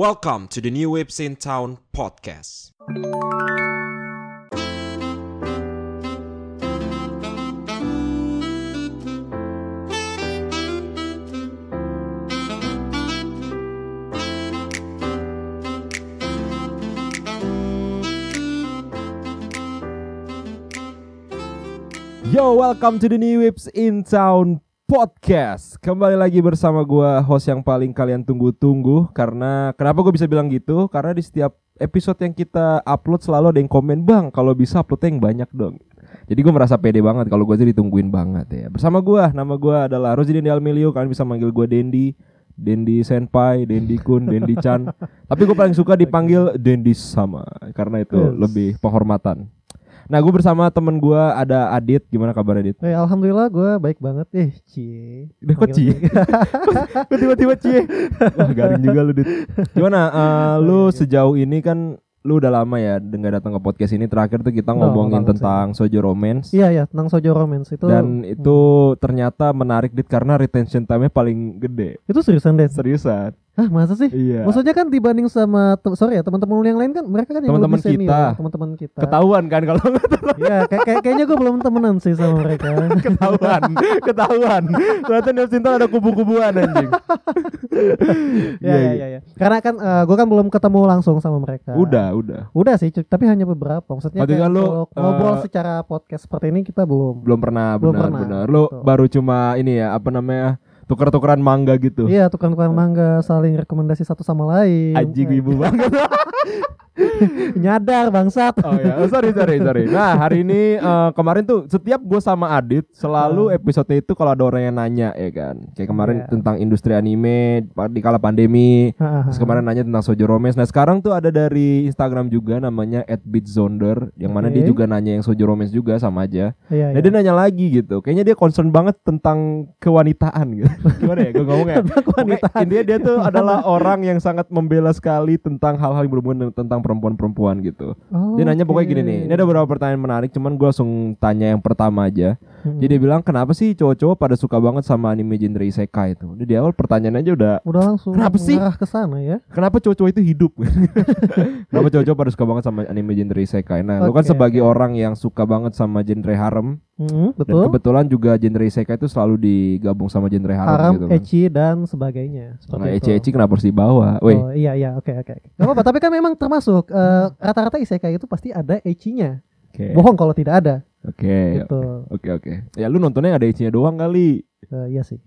Welcome to the New Waves in Town podcast. Yo, welcome to the New Whips in Town Podcast. Kembali lagi bersama gua host yang paling kalian tunggu-tunggu karena kenapa gue bisa bilang gitu? Karena di setiap episode yang kita upload selalu ada yang komen, "Bang, kalau bisa uploadnya yang banyak dong." Jadi gue merasa pede banget kalau gue jadi ditungguin banget ya. Bersama gua, nama gua adalah Rozi Dendi Almilio, kalian bisa manggil gua Dendi. Dendi Senpai, Dendi Kun, Dendi Chan. Tapi gue paling suka dipanggil Dendi sama karena itu Yes. lebih penghormatan. Nah, gue bersama temen gue ada Adit. Gimana kabar Adit? Eh, alhamdulillah gue baik banget eh cie. Udah kok cie? Kok tiba-tiba cie? Wah, garing juga lu, Dit. Gimana eh, lu Iya, iya. sejauh ini kan lu udah lama ya nggak datang ke podcast ini. Terakhir tuh kita Udah lama ngomongin banget tentang Sojo Romance. Iya ya, tentang Sojo Romance itu. Dan itu ternyata menarik Dit karena retention time-nya paling gede. itu seriusan deh. Seriusan. Hah, masa sih? Iya. Maksudnya kan dibanding sama te- sorry ya, teman-teman lu yang lain kan mereka kan yang Teman-teman lebih senior, kita. teman-teman kita. Ketahuan kan kalau nggak Iya, kayak kayak- kayaknya gue belum temenan sih sama mereka. Iya, ketahuan, ketahuan. Ternyata Nel Sinta ada kubu-kubuan anjing. ya, ya, ya, ya. Karena kan gue kan belum ketemu langsung sama iya. mereka. Udah, udah. Udah sih, cu- tapi hanya beberapa. Maksudnya Berarti kayak kan lu, kalau ngobrol eh, secara podcast seperti ini kita belum. Belum pernah Belum benar pernah, benar. Lu betul. baru cuma ini ya, apa namanya? tuker-tukeran mangga gitu. Iya, tukang-tukang mangga saling rekomendasi satu sama lain. Anjing Eh, ibu banget. Nyadar bangsat. Oh ya, Oh, sorry sorry sorry. Nah hari ini eh, kemarin tuh setiap gue sama Adit selalu episode itu kalau ada orang yang nanya ya kan. Kayak kemarin Iya. tentang industri anime pa- di kala pandemi. Terus Iya, kemarin nanya tentang Sojo Romance. Nah sekarang tuh ada dari Instagram juga namanya @beatzonder yang mana dia Oke. juga nanya yang Sojo Romance juga sama aja. Iya, Nah iya. dia nanya lagi gitu. Kayaknya dia concern banget tentang kewanitaan gitu. Gimana ya gue ngomongnya? Tentang Pokoknya kewanitaan. Intinya dia tuh adalah orang yang sangat membela sekali tentang hal-hal yang berhubungan dengan- tentang perempuan-perempuan gitu. Oh, Dia nanya pokoknya oke. gini nih. Ini ada beberapa pertanyaan menarik, cuman gue langsung tanya yang pertama aja. Hmm. Jadi dia bilang kenapa sih cowok-cowok pada suka banget sama anime genre isekai itu? Dia di awal pertanyaan aja udah udah langsung Kenapa sih? mengarah ke sana ya. kenapa cowok-cowok itu hidup? kenapa cowok-cowok pada suka banget sama anime genre isekai? Nah, lu kan Oke, sebagai oke. orang yang suka banget sama genre harem dan Mm, betul. kebetulan juga genre isekai itu selalu digabung sama genre harem, Haram, gitu. Kan. eci dan sebagainya. Seperti Nah, itu. eci-eci kenapa harus dibawa? Woi, Oh, iya iya oke oke. Gak apa-apa tapi kan memang termasuk eh, rata-rata isekai itu pasti ada ecinya. oke. Bohong kalau tidak ada Oke. gitu. Oke oke. Ya lu nontonnya ada isinya doang kali. Eh, iya sih.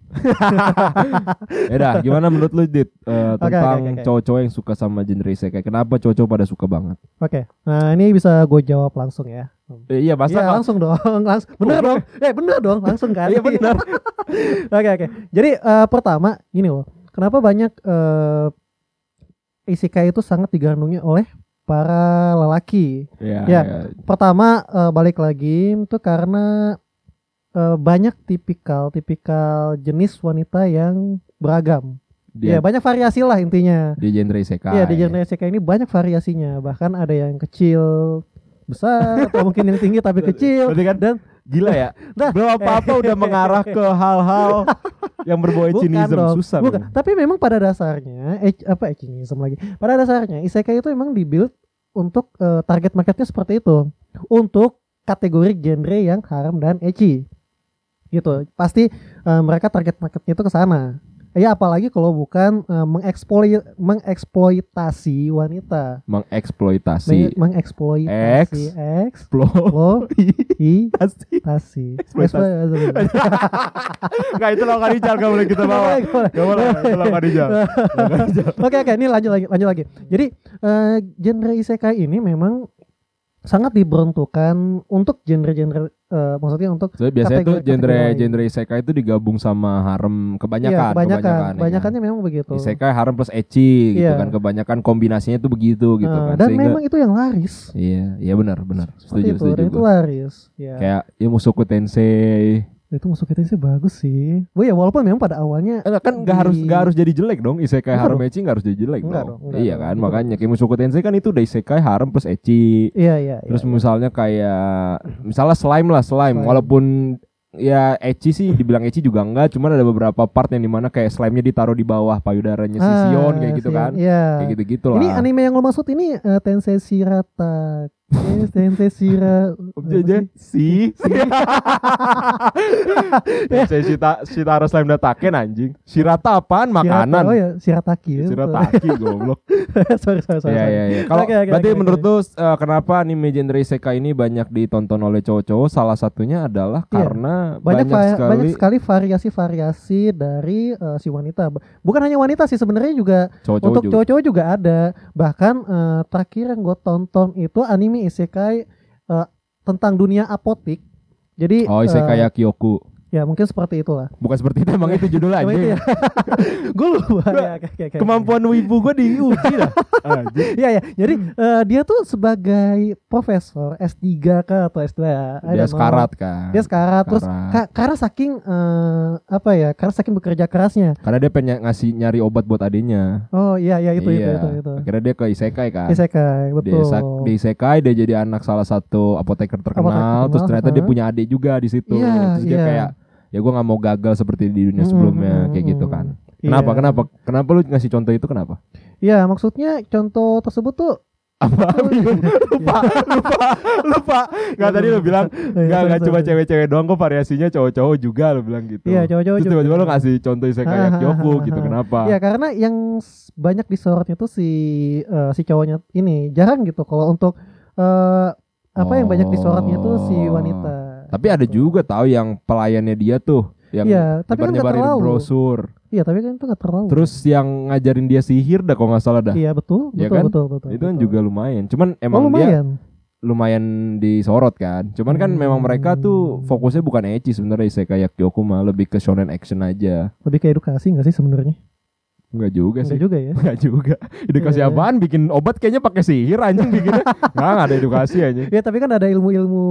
Ya dah, gimana menurut lu Dit eh, Oke, tentang oke, oke, oke. cowok-cowok yang suka sama genre isekai? Kenapa cowok-cowok pada suka banget? Oke. Nah, ini bisa gue jawab langsung ya. Eh, iya, masa Iya, langsung dong, langsung. Bener dong. Eh, bener dong, langsung kan. Iya, bener. Oke, oke. Jadi eh, pertama gini loh. Kenapa banyak eh isekai itu sangat digandungi oleh para lelaki? Iya, Ya. iya. Pertama eh, balik lagi itu karena eh, banyak tipikal-tipikal jenis wanita yang beragam. Dia, Nah, Ya, banyak variasi lah intinya. dia genre isekai. Iya, di genre isekai ini banyak variasinya. Bahkan ada yang kecil, besar atau mungkin yang tinggi tapi kecil. Berarti kan dan gila ya. Nah, Belum apa-apa udah mengarah ke hal-hal yang berbau cinism dong, susah. bukan. memang. Tapi memang pada dasarnya eh, apa ecinism lagi. Pada dasarnya isekai itu memang dibuild untuk eh, target marketnya seperti itu. Untuk kategori genre yang haram dan eci. Gitu. Pasti eh, mereka target marketnya itu ke sana. Ya apalagi kalau bukan eh, mengeksploit mengeksploitasi wanita. Mengeksploitasi. mengeksploitasi eks Exploitasi. eksploitasi. Eksploitasi. Enggak itu lo kali jangan boleh kita bawa. Boleh, boleh. Gak boleh, itu lo kali jangan. Oke oke ini lanjut lagi lanjut lagi. Jadi eh, genre isekai ini memang sangat diperuntukkan untuk genre-genre eh, maksudnya untuk Soalnya biasanya tuh Kategori- genre kategori lain. genre isekai itu digabung sama harem Iya, kebanyakan, kebanyakan ya kan? kebanyakannya memang begitu. Isekai harem plus ecchi gitu Iya. kan kebanyakan kombinasinya tuh begitu gitu Nah, kan. dan Sehingga- memang itu yang laris. Iya, iya benar, benar. Seperti Setuju, itu, setuju. dan itu gua. laris. Ya. Kayak ya Musoku Tensei. Itu masuk itu sih bagus sih. Bu ya walaupun memang pada awalnya Eh, kan nggak Di- harus nggak harus jadi jelek dong. Isekai Enggak harem dong. ecchi nggak harus jadi jelek Enggak dong. dong, enggak iya dong. Gitu. kan Itu makanya kayak Musoku Tensei kan itu udah isekai harem plus ecchi. iya iya. Terus iya. misalnya kayak misalnya slime lah slime, Slime. walaupun ya ecchi sih dibilang ecchi juga enggak, cuman ada beberapa part yang dimana kayak slime-nya ditaruh di bawah payudaranya si Sion kayak gitu Ah, Sion, kan. Iya. Kayak gitu-gitu lah. Ini anime yang lo maksud ini eh, Tensei Shirata. Eh, Tensei Shira. Om Jeje, si Ya. Saya Shita, Shitaro Slime Dataken anjing Shirata apaan? Shirata, Makanan oh ya, Shirataki. betul. Shirataki goblok sorry, sorry, sorry. Iya sorry. iya iya Kalau Oke, oke, berarti oke, menurut lu eh, Kenapa anime genre isekai ini banyak ditonton oleh cowok-cowok Salah satunya adalah Iya. karena Banyak banyak, va- sekali banyak sekali variasi-variasi dari eh, si wanita. Bukan hanya wanita sih sebenarnya juga cowok-cowok untuk juga cowok-cowok juga ada. Bahkan eh, terakhir yang gue tonton itu anime isekai eh, tentang dunia apotik. Jadi Oh isekai eh, Kyoku ya mungkin seperti itulah. Bukan seperti itu emang itu judul Cuma itu anjing ya. gue lupa. ya, oke, oke, oke. Kemampuan wibu gue diuji lah Anjing. Iya ya. Jadi eh, dia tuh sebagai profesor S3 kah atau S2 ya. I Dia don't know. sekarat kan Dia sekarat terus Sekarat. ka- karena saking eh, apa ya? Karena saking bekerja kerasnya. Karena dia pengen ngasih nyari obat buat adiknya Oh iya iya itu Iya. itu itu itu. Akhirnya dia ke isekai kan Dia Isekai, betul. isak- dia isekai dia jadi anak salah satu apoteker terkenal, terkenal, terus ternyata dia heeh. punya adik juga di situ Iya, terus dia iya. kayak ya gua nggak mau gagal seperti di dunia Mm, sebelumnya mm, kayak mm, gitu kan Iya. kenapa kenapa kenapa lu ngasih contoh itu kenapa Iya, maksudnya contoh tersebut tuh apa bingung lupa lupa lupa nggak tadi Iya. lu bilang nggak nggak cuma cewek-cewek doang kok variasinya cowok-cowok juga lu bilang gitu Iya, cowok-cowok terus juga. tiba-tiba lu ngasih contoh isekai Ah, ah, Kyoku ah, gitu ah. kenapa Iya, karena yang s- banyak disorotnya tuh si eh, si cowoknya ini jarang gitu kalau untuk eh, apa yang banyak disorotnya tuh si Oh. wanita. Gitu. tapi ada juga tahu yang pelayannya dia tuh yang Iya, tapi kan nggak nyebar-nyebarin terlalu. brosur Iya, tapi kan itu nggak terlalu. terus yang ngajarin dia sihir dah kalau nggak salah dah Iya, betul, betul, Iya kan? betul, betul, itu kan betul. juga lumayan cuman Oh, emang dia lumayan. lumayan disorot kan cuman kan memang mereka tuh Hmm. fokusnya bukan ecchi sebenarnya isekai Kyoku mah lebih ke shonen action aja Lebih ke edukasi nggak sih sebenarnya? Enggak juga Iya Enggak sih juga ya. Enggak juga edukasi Iya. apaan bikin obat kayaknya pakai sihir anjing bikinnya Nggak, nggak ada edukasi anjing Ya tapi kan ada ilmu-ilmu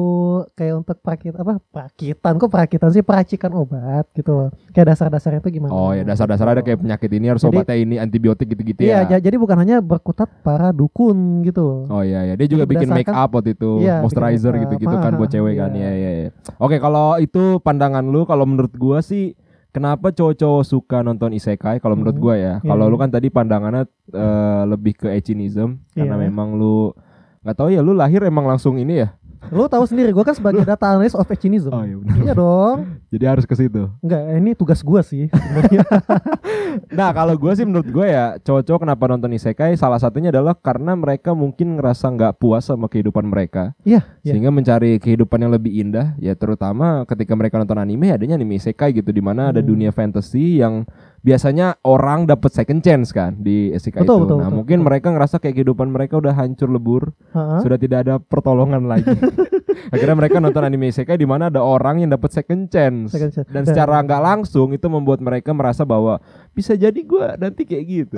kayak untuk perakit apa perakitan kok perakitan sih peracikan obat gitu loh. Kayak dasar-dasarnya itu gimana? oh ya dasar-dasar ada kayak penyakit ini harus Jadi- obatnya ini antibiotik gitu-gitu Iya, ya ja- jadi bukan hanya berkutat para dukun gitu loh. Oh iya ya, dia juga Jadi bikin make berdasarkan- up waktu itu, Iya, moisturizer bikin make up. gitu-gitu kan buat Ah, cewek kan. iya. Iya iya iya. Oke, kalau itu pandangan lu, kalau menurut gua sih kenapa cowok-cowok suka nonton isekai kalau menurut Mhm. gua ya. Iya, Kalau iya. lu kan tadi pandangannya eh, lebih ke echinism karena Iya. memang lu nggak tahu ya lu lahir emang langsung ini ya. Lo tahu sendiri, gue kan sebagai data analis of Echinism. iya Iya dong. Jadi harus ke situ. Enggak, ini tugas gue sih. sebenarnya. Nah, kalau gua sih menurut gua ya cowok-cowok kenapa nonton isekai salah satunya adalah karena mereka mungkin ngerasa nggak puas sama kehidupan mereka. Iya. iya. sehingga mencari kehidupan yang lebih indah ya terutama ketika mereka nonton anime adanya anime isekai gitu di mana ada Hmm. dunia fantasy yang biasanya orang dapat second chance kan di isekai itu Betul, betul, nah betul, mungkin betul. mereka ngerasa kayak kehidupan mereka udah hancur lebur Ha-ha. sudah tidak ada pertolongan lagi akhirnya mereka nonton anime isekai di mana ada orang yang dapat second chance Second chance. dan secara nggak langsung itu membuat mereka merasa bahwa bisa jadi gua nanti kayak gitu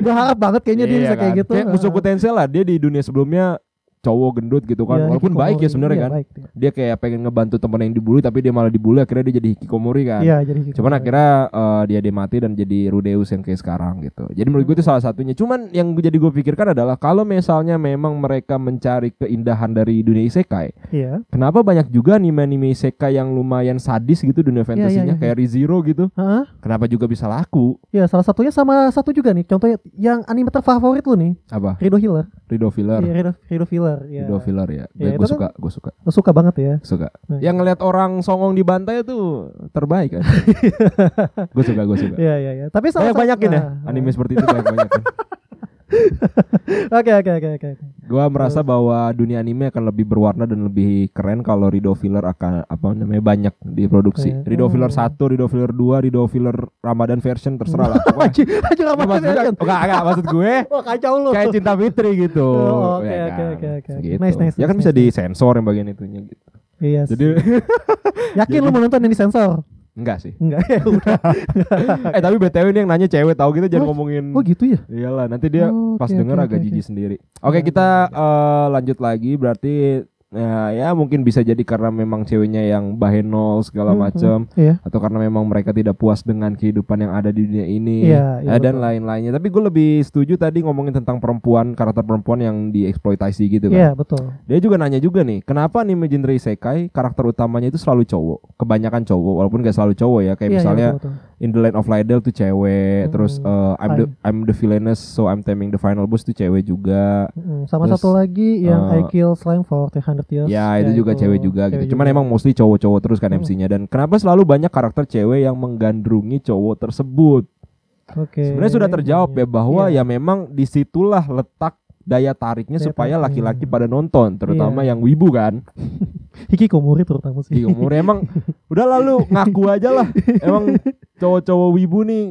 Berharap banget kayaknya dia Iya bisa kayak kan. gitu. Ha-ha. Musuku Tensei lah dia di dunia sebelumnya cowok gendut gitu kan Iya, walaupun hikikomori. baik ya sebenarnya Iya, kan baik dia. dia kayak pengen ngebantu temen yang dibully tapi dia malah dibully akhirnya dia jadi hikikomori kan Iya, jadi hikikomori. cuman akhirnya eh, dia dia mati dan jadi Rudeus yang kayak sekarang gitu jadi menurut gue itu salah satunya cuman yang jadi gue pikirkan adalah kalau misalnya memang mereka mencari keindahan dari dunia isekai Iya. kenapa banyak juga anime-anime isekai yang lumayan sadis gitu dunia fantasinya iya, kayak ReZero gitu Ha-ha. kenapa juga bisa laku Iya, salah satunya sama satu juga nih. Contohnya yang anime terfavorit lu nih, apa Rido Healer. Rido Filler Iya, Rido, Rido Healer. Iya. Rido Iya. Filler ya, Iya, gue itu suka gue suka Lu Suka banget ya. suka Nah, yang ngelihat orang songong dibantai tuh terbaik kan gue suka gue suka Iya, iya, iya. Tapi banyak salah banyakin ya Nah, anime seperti itu banyak banyakin Oke, oke, oke, oke. gue merasa bahwa dunia anime akan lebih berwarna dan lebih keren kalau Rido Filler akan apa namanya banyak diproduksi Iya. Rido Filler Hmm. 1 Rido Filler 2 Rido Filler Ramadan version terserah lah pokoknya Anjir, anjir Nggak Ramadan maksud gue- Version. nggak nggak, maksud gue Wah, kacau lu. kayak cinta fitri gitu Oh, oke, ya oke, kan? oke, oke. Gitu. Nice, nice, ya kan nice, bisa nice. disensor yang bagian itunya gitu Iya. jadi Yakin lu mau nonton yang disensor? enggak sih Enggak ya udah. eh tapi btw ini yang nanya cewek tahu gitu jangan Oh, ngomongin Oh gitu ya? Iyalah, nanti dia Oh, pas oke, denger oke, agak oke, jijik sendiri. Oke, Oke, kita eh, lanjut lagi. Berarti Nah, ya mungkin bisa jadi karena memang ceweknya yang bahenol segala Mhm. macam Iya. atau karena memang mereka tidak puas dengan kehidupan yang ada di dunia ini Iya, iya, eh, dan betul. lain-lainnya. Tapi gue lebih setuju tadi ngomongin tentang perempuan karakter perempuan yang dieksploitasi gitu kan. Iya, betul. Dia juga nanya juga nih, kenapa anime genre isekai karakter utamanya itu selalu cowok, kebanyakan cowok, walaupun gak selalu cowok ya, kayak Iya, iya, misalnya betul, betul. In the Land of Lidl tuh cewek, Hmm, terus eh, I'm the I'm the villainess, so I'm taming the final boss tuh cewek juga. Mm, sama Terus, satu lagi yang eh, I Kill Slime for 300 Years. ya itu juga cewek juga gitu. Cuman emang mostly cowok-cowok terus kan Hmm. MC-nya dan kenapa selalu banyak karakter cewek yang menggandrungi cowok tersebut? Sebenarnya sudah terjawab ya iya. bahwa ya memang disitulah letak daya tariknya Daya supaya tariknya. laki-laki pada nonton, terutama yang wibu kan. Hikikomori terutama sih. Di umur emang udah lalu ngaku aja lah. Emang cowok-cowok wibu nih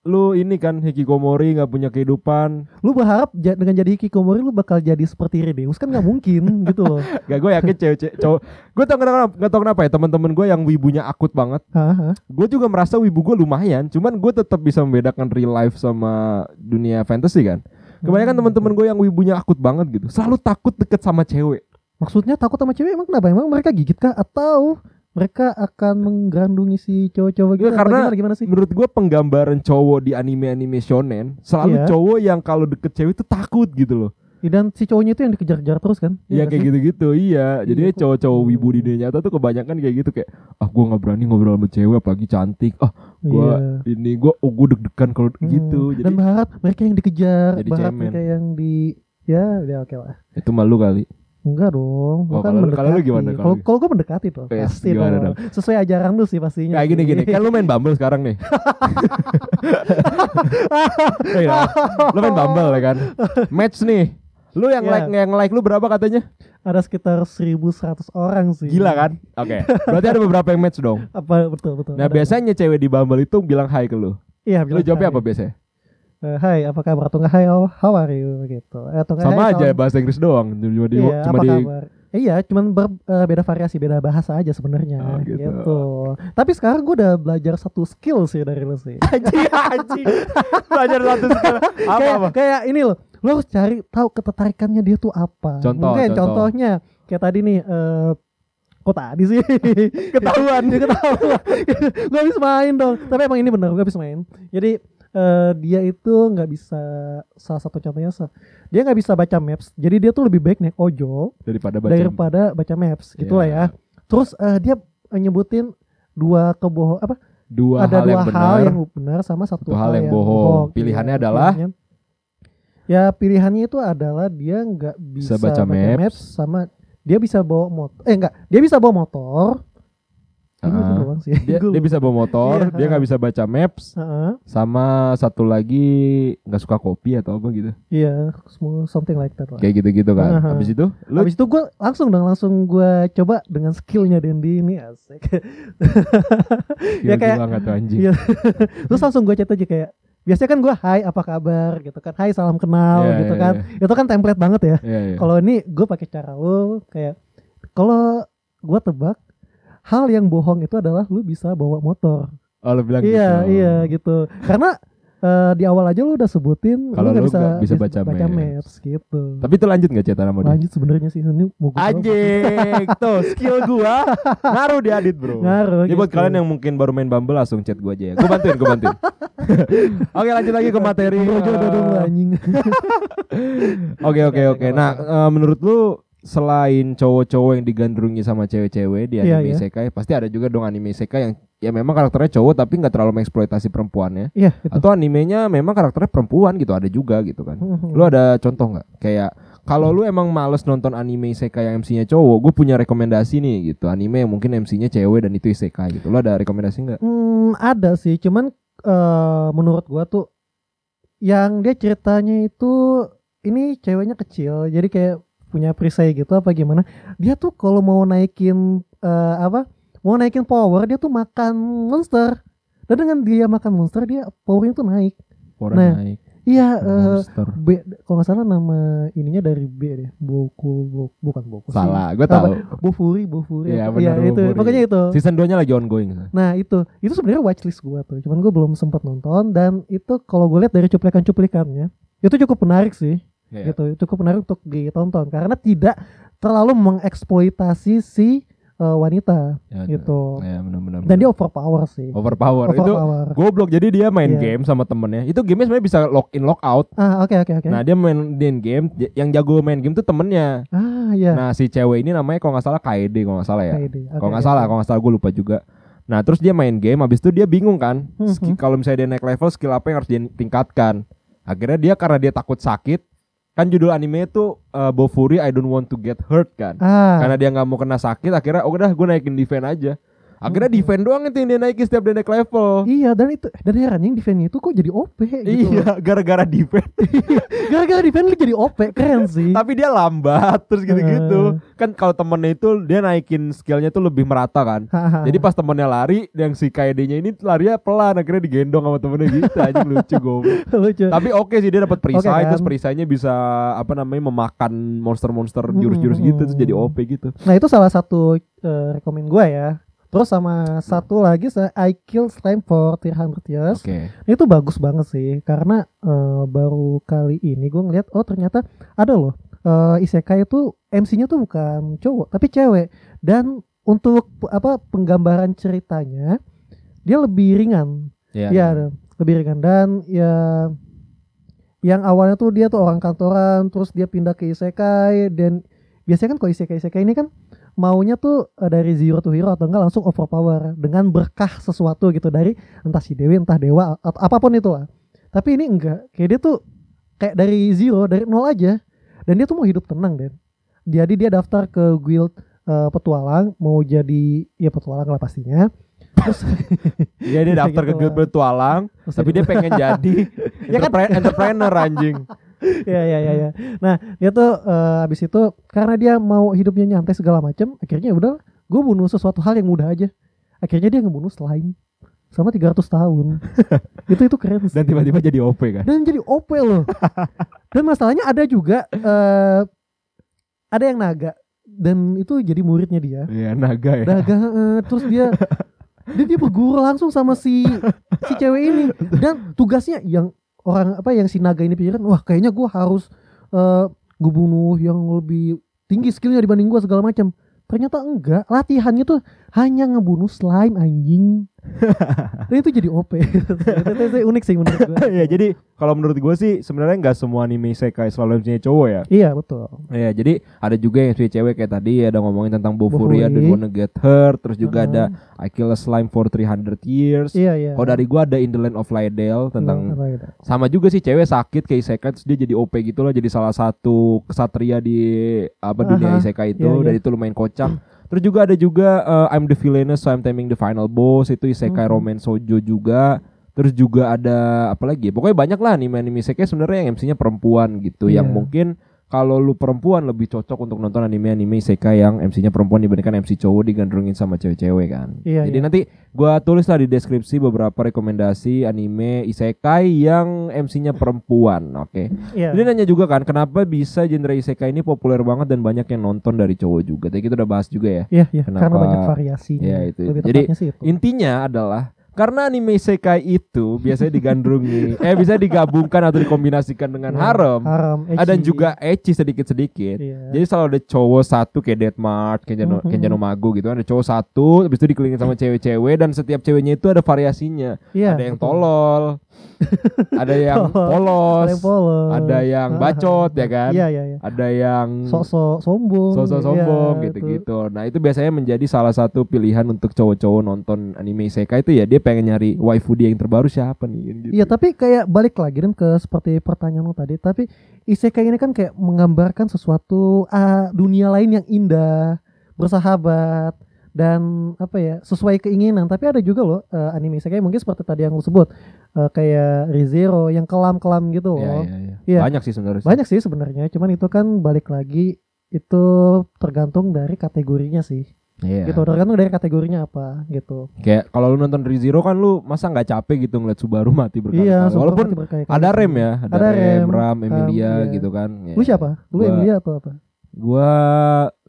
lu ini kan hikikomori nggak punya kehidupan Lu berharap ja- dengan jadi hikikomori lu bakal jadi seperti Redeus kan nggak mungkin gitu loh. Gak gue yakin cewek-cewek cowok Gue tau kenapa, gak tau kenapa ya teman-teman gue yang wibunya akut banget Hah, hah. Gue juga merasa wibu gue lumayan Cuman gue tetap bisa membedakan real life sama dunia fantasy kan Kebanyakan Hmm. teman-teman gue yang wibunya akut banget gitu Selalu takut deket sama cewek Maksudnya takut sama cewek emang kenapa? Emang mereka gigit kah atau mereka akan menggandungi si cowok-cowok gitu? Ya, Apa karena gimana, gimana sih? Menurut gue penggambaran cowok di anime-anime shonen Selalu Iya. cowok yang kalau deket cewek tuh takut gitu loh Ih, Dan si cowoknya itu yang dikejar-kejar terus kan? Iya kayak gitu-gitu iya Jadi Iya, kok. cowok-cowok wibu di dunia nyata tuh kebanyakan kayak gitu Kayak ah gue gak berani ngobrol sama cewek apalagi cantik Ah gua ini gue oh, gue deg-degan kalau Hmm. gitu jadi Iya. Dan berharap mereka yang dikejar, Jadi berharap cemen. mereka yang di ya udah oke lah. itu malu kali Enggak dong, lu Oh, kalau kan lu- mendekati. kalau lu gimana? Kalau Kalau lu- kalau gue mendekati tuh, Yes, pasti gimana dong. Sesuai ajaran lu sih pastinya. kayak gini sih. gini kan lu main bumble sekarang nih Iya kan? lu main bumble ya kan match nih lu yang Iya. like yang like lu berapa katanya Ada sekitar 1.100 orang sih. gila kan oke berarti ada beberapa yang match dong Apa betul betul. nah ada. biasanya cewek di bumble itu bilang hai ke lu Iya, lu bilang jawabnya hai. apa biasanya Eh, hai, apa kabar? Atau enggak hai, how, how are you gitu. Eh, Atau nggak, sama "Hai, aja kawan." bahasa Inggris doang cuma di Iya, cuma apa di kabar? Eh, Iya, cuman ber- eh, beda variasi, beda bahasa aja sebenarnya Oh, gitu. gitu. Tapi sekarang gue udah belajar satu skill sih dari lu sih. anjing anjing belajar satu skill apa kayak, apa kayak ini loh lo harus cari tahu ketertarikannya dia tuh apa Contoh, mungkin contoh. contohnya kayak tadi nih eh kok tadi sih ketahuan Ya, ketahuan gue habis main dong tapi emang ini bener gue habis main jadi eh dia itu nggak bisa salah satu contohnya sa- dia nggak bisa baca maps jadi dia tuh lebih baik naik ojol daripada baca daripada baca maps gitulah Iya. ya terus eh, dia nyebutin dua kebohongan apa dua ada hal dua yang hal benar yang benar sama Satu satu hal yang bohong. Pilihannya Iya, adalah? pilihannya- ya pilihannya itu adalah dia nggak bisa, baca maps. sama dia bisa bawa motor eh enggak dia bisa bawa motor Ini itu Ah. doang sih dia, Gua- dia bisa bawa motor, Iya. dia nggak bisa baca maps, Heeh, sama satu lagi nggak suka kopi atau apa gitu, iya semua something like that lah. kayak gitu-gitu kan. Aha. Habis itu, lu Habis itu gue langsung dong langsung gue coba dengan skillnya Dendi ini asik. ya ya kayak- nggak tuh anjing. Iya. Terus langsung gue chat aja kayak biasanya kan gue hai apa kabar gitu kan hai salam kenal Iya, gitu iya, kan itu kan template banget ya Iya, iya. Kalau ini gue pakai cara lu kayak kalau gue tebak hal yang bohong itu adalah lu bisa bawa motor. Oh, lu bilang iya gitu. iya gitu. Karena eh, di awal aja lu udah sebutin Kalau nggak lu nggak bisa baca maps. gitu. Tapi itu lanjut nggak cerita sama dia? Lanjut sebenarnya sih ini mau gua- Anjing, tuh skill gua ngaruh di Adit bro. Ngaruh. gitu. Jadi buat kalian yang mungkin baru main Bumble langsung chat gua aja ya. Gua bantuin, gua bantuin. Oke lanjut lagi ke materi. eh, anjing. Oke oke Gak oke. apa-apa. Nah eh, menurut lu selain cowok-cowok yang digandrungi sama cewek-cewek di Iya, anime iya. isekai, pasti ada juga dong anime isekai yang ya memang karakternya cowok tapi nggak terlalu mengeksploitasi perempuannya. Iya itu. Atau animenya memang karakternya perempuan gitu ada juga gitu kan. Mhm. Lu ada contoh nggak? Kayak kalau lu emang males nonton anime isekai yang MC-nya cowok, gue punya rekomendasi nih gitu. Anime yang mungkin MC-nya cewek dan itu isekai gitu. Lu ada rekomendasi nggak? Hmm, ada sih, cuman eh, menurut gua tuh yang dia ceritanya itu ini ceweknya kecil, jadi kayak punya perisai gitu apa gimana. Dia tuh kalau mau naikin eh, apa? Mau naikin power, dia tuh makan monster. Dan dengan dia makan monster, dia powernya tuh naik. Orang Nah, naik, Iya, eh, monster. B, kalau nggak salah nama ininya dari B deh, Boku, Boku- bukan Boku. sih. Salah, gue apa? tahu. Bofuri, Bofuri. Iya, apa- benar, itu. Bofuri. Pokoknya itu. Season 2-nya lagi ongoing. Nah itu, itu sebenarnya watchlist gua tuh. Cuman gue belum sempat nonton dan itu kalau gue lihat dari cuplikan-cuplikannya itu cukup menarik sih, Iya. gitu. Cukup menarik untuk ditonton karena tidak terlalu mengeksploitasi si eh, wanita Ya, gitu. Ya, benar-benar. Dan dia overpower sih. overpower. Itu Overpower. goblok. Jadi dia main Iya. game sama temennya. Itu gamenya sebenarnya bisa login log out. Ah, oke oke oke. Nah, dia main main game, j- yang jago main game tuh temennya. Ah, iya. Nah, si cewek ini namanya kalau nggak salah Kaede kalau nggak salah ya. Kayak ide. Oke, kalau nggak oke. salah, kalau nggak salah gue lupa juga. Nah, terus dia main game, habis itu dia bingung kan. Mhm. Ski- Kalau misalnya dia naik level, skill apa yang harus dia tingkatkan? Akhirnya dia karena dia takut sakit, kan judul anime itu uh, Bofuri I Don't Want to Get Hurt kan. Ah, Karena dia nggak mau kena sakit, akhirnya oh udah gue naikin defense aja. Akhirnya Mhm. defense doang itu yang dia naikin setiap dia naik level. iya dan itu dan heran yang defense itu kok jadi OP gitu. Iya. Iya, gara-gara defense. Gara-gara defense lu jadi OP, keren sih. Tapi dia lambat terus gitu-gitu. Ah. Kan kalau temennya itu dia naikin skillnya tuh lebih merata kan. Hahaha. Jadi pas temennya lari, yang si KD-nya ini larinya pelan, akhirnya digendong sama temennya gitu aja lucu goblok. lucu. Tapi oke sih dia dapat perisai, Oke kan? terus perisainya bisa apa namanya memakan monster-monster Hmm, jurus-jurus hmm, gitu terus jadi hmm. OP gitu. Nah itu salah satu eh, rekomen gue ya. Terus sama satu lagi saya I Kill Slime for 300 Years. Oke. Itu bagus banget sih karena eh, baru kali ini gue ngeliat oh ternyata ada loh eh, isekai itu MC-nya tuh bukan cowok tapi cewek dan untuk p- apa penggambaran ceritanya dia lebih ringan. Iya, lebih ringan dan ya yang awalnya tuh dia tuh orang kantoran terus dia pindah ke isekai dan biasanya kan kalau isekai isekai ini kan maunya tuh eh, dari zero to hero atau enggak langsung overpower dengan berkah sesuatu gitu dari entah si dewi entah dewa atau apapun itu lah tapi ini enggak kayak dia tuh kayak dari zero dari nol aja dan dia tuh mau hidup tenang Den jadi dia daftar ke guild eh, petualang mau jadi ya petualang lah pastinya terus Iya dia Bisa daftar ke gitu guild lah. bertualang, tapi dia pengen jadi Ya kan? entrepre- entrepreneur anjing. ya ya ya ya. Nah dia tuh eh, abis itu karena dia mau hidupnya nyantai segala macam, akhirnya udah gue bunuh sesuatu hal yang mudah aja. Akhirnya dia ngebunuh slime sama 300 tahun. itu itu keren sih. Dan tiba-tiba jadi OP kan. Dan jadi OP loh. dan masalahnya ada juga eh ada yang naga dan itu jadi muridnya dia. Iya, naga ya. Naga eh, terus dia dia dia berguru langsung sama si si cewek ini dan tugasnya yang orang apa yang si naga ini pikirin wah kayaknya gue harus eh gue bunuh yang lebih tinggi skillnya dibanding gue segala macam ternyata enggak latihannya tuh hanya ngebunuh slime anjing dan itu jadi op itu, itu- itu unik sih menurut gue Iya, jadi kalau menurut gue sih sebenarnya nggak semua anime isekai selalu MC-nya cowok ya. iya betul Iya, jadi ada juga yang si cewek kayak tadi ya, ada ngomongin tentang Bofuri, Bofuri. ada Wanna Get Her, terus juga Uh-huh. ada I Kill a Slime for 300 Years. iya iya Kalau Oh, dari gua ada In the Land of Lydell tentang Apa gitu. sama juga sih cewek sakit kayak isekai terus dia jadi OP gitu loh, jadi salah satu kesatria di apa dunia Aha, isekai itu iya, dan itu lumayan kocak. Terus juga ada juga eh, I'm the Villainous so I'm Taming the Final Boss itu isekai Hmm. romance shoujo juga. Terus juga ada apa lagi? ya? Pokoknya banyak lah anime-anime isekai sebenarnya yang MC-nya perempuan gitu Iya. yang mungkin kalau lu perempuan lebih cocok untuk nonton anime-anime isekai yang MC-nya perempuan dibandingkan MC cowok digandrungin sama cewek-cewek kan. Iya, Jadi iya. nanti gua tulis lah di deskripsi beberapa rekomendasi anime isekai yang MC-nya perempuan, oke. iya Jadi nanya juga kan kenapa bisa genre isekai ini populer banget dan banyak yang nonton dari cowok juga. Tadi kita udah bahas juga ya. iya iya Kenapa? karena banyak variasinya Iya, itu- lebih jadi- tepatnya sih itu Intinya adalah karena anime isekai itu biasanya digandrungi, eh bisa digabungkan atau dikombinasikan dengan Iya, harem. harem Ada edgy. juga ecchi sedikit-sedikit. iya Jadi selalu ada cowok satu kayak Deadmart, kayak Jano, Mhm. Eh. kayak Jano Mago gitu kan. Ada cowok satu, habis itu dikelilingin sama cewek-cewek dan setiap ceweknya itu ada variasinya. Iya, ada yang betul. tolol, ada yang polos, Ada yang polos. ada yang Ah, bacot ya kan, Iya iya iya. ada yang Sok-sok sombong. sosok Iya, sombong itu. gitu-gitu. Nah itu biasanya menjadi salah satu pilihan untuk cowok-cowok nonton anime isekai itu ya dia pengen nyari waifu dia yang terbaru siapa nih. gitu. Iya, tapi kayak balik lagi dan ke seperti pertanyaan lo tadi, tapi isekai ini kan kayak menggambarkan sesuatu ah, dunia lain yang indah, bersahabat dan apa ya, sesuai keinginan. Tapi ada juga loh eh, anime isekai mungkin seperti tadi yang lo sebut eh, kayak ReZero yang kelam-kelam gitu Iya, loh. iya, iya. Iya. Banyak sih sebenarnya. sih. Banyak sih sebenarnya, cuman itu kan balik lagi itu tergantung dari kategorinya sih. Iya. Gitu, tergantung dari kategorinya apa gitu. Kayak kalau lu nonton Rizero kan lu masa nggak capek gitu ngeliat Subaru mati berkali-kali. Iya, Super Walaupun Mati berkali-kali. ada rem ya, ada, Ada rem, rem, Ram, Emilia iya. gitu kan. gitu. Lu siapa? Lu Gua- Emilia atau apa? Gua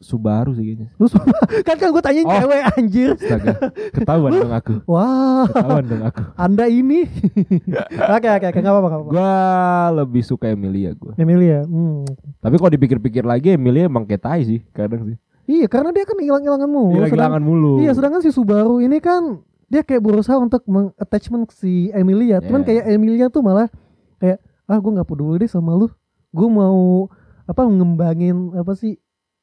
Subaru sih kayaknya. Lu sumpah, kan kan gue tanyain Oh. cewek anjir. Astaga, ketahuan dong aku. Wah, Ketahuan dong aku. Anda ini. Oke oke oke enggak apa-apa nggak apa-apa. Gua lebih suka Emilia gua. Emilia. Hmm. Tapi kalau dipikir-pikir lagi Emilia emang kayak tai sih kadang sih. Iya, karena dia kan hilang-hilangan mulu. Sedang- Hilang-hilangan mulu. Iya, sedangkan si Subaru ini kan dia kayak berusaha untuk meng-attachment si Emilia. Iya. Cuman kayak Emilia tuh malah kayak ah gue nggak peduli deh sama lu. Gue mau apa ngembangin apa sih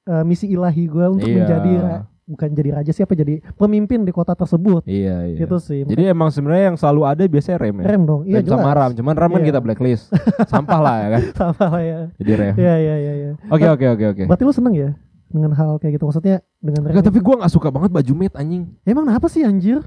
eh, misi ilahi gue untuk Iya. menjadi ra- bukan jadi raja siapa jadi pemimpin di kota tersebut Iya, iya. gitu sih. Jadi emang sebenarnya yang selalu ada biasanya rem ya. rem dong. Iya Rem sama jelas. ram, cuman ram kan Iya. kita blacklist. Sampah lah ya kan. Sama lah ya. Jadi rem. Iya iya iya iya. Oke, oke, oke, oke. Berarti lu seneng ya dengan hal kayak gitu maksudnya dengan rem. Enggak, tapi gua nggak suka banget baju maid anjing. Emang kenapa sih anjir?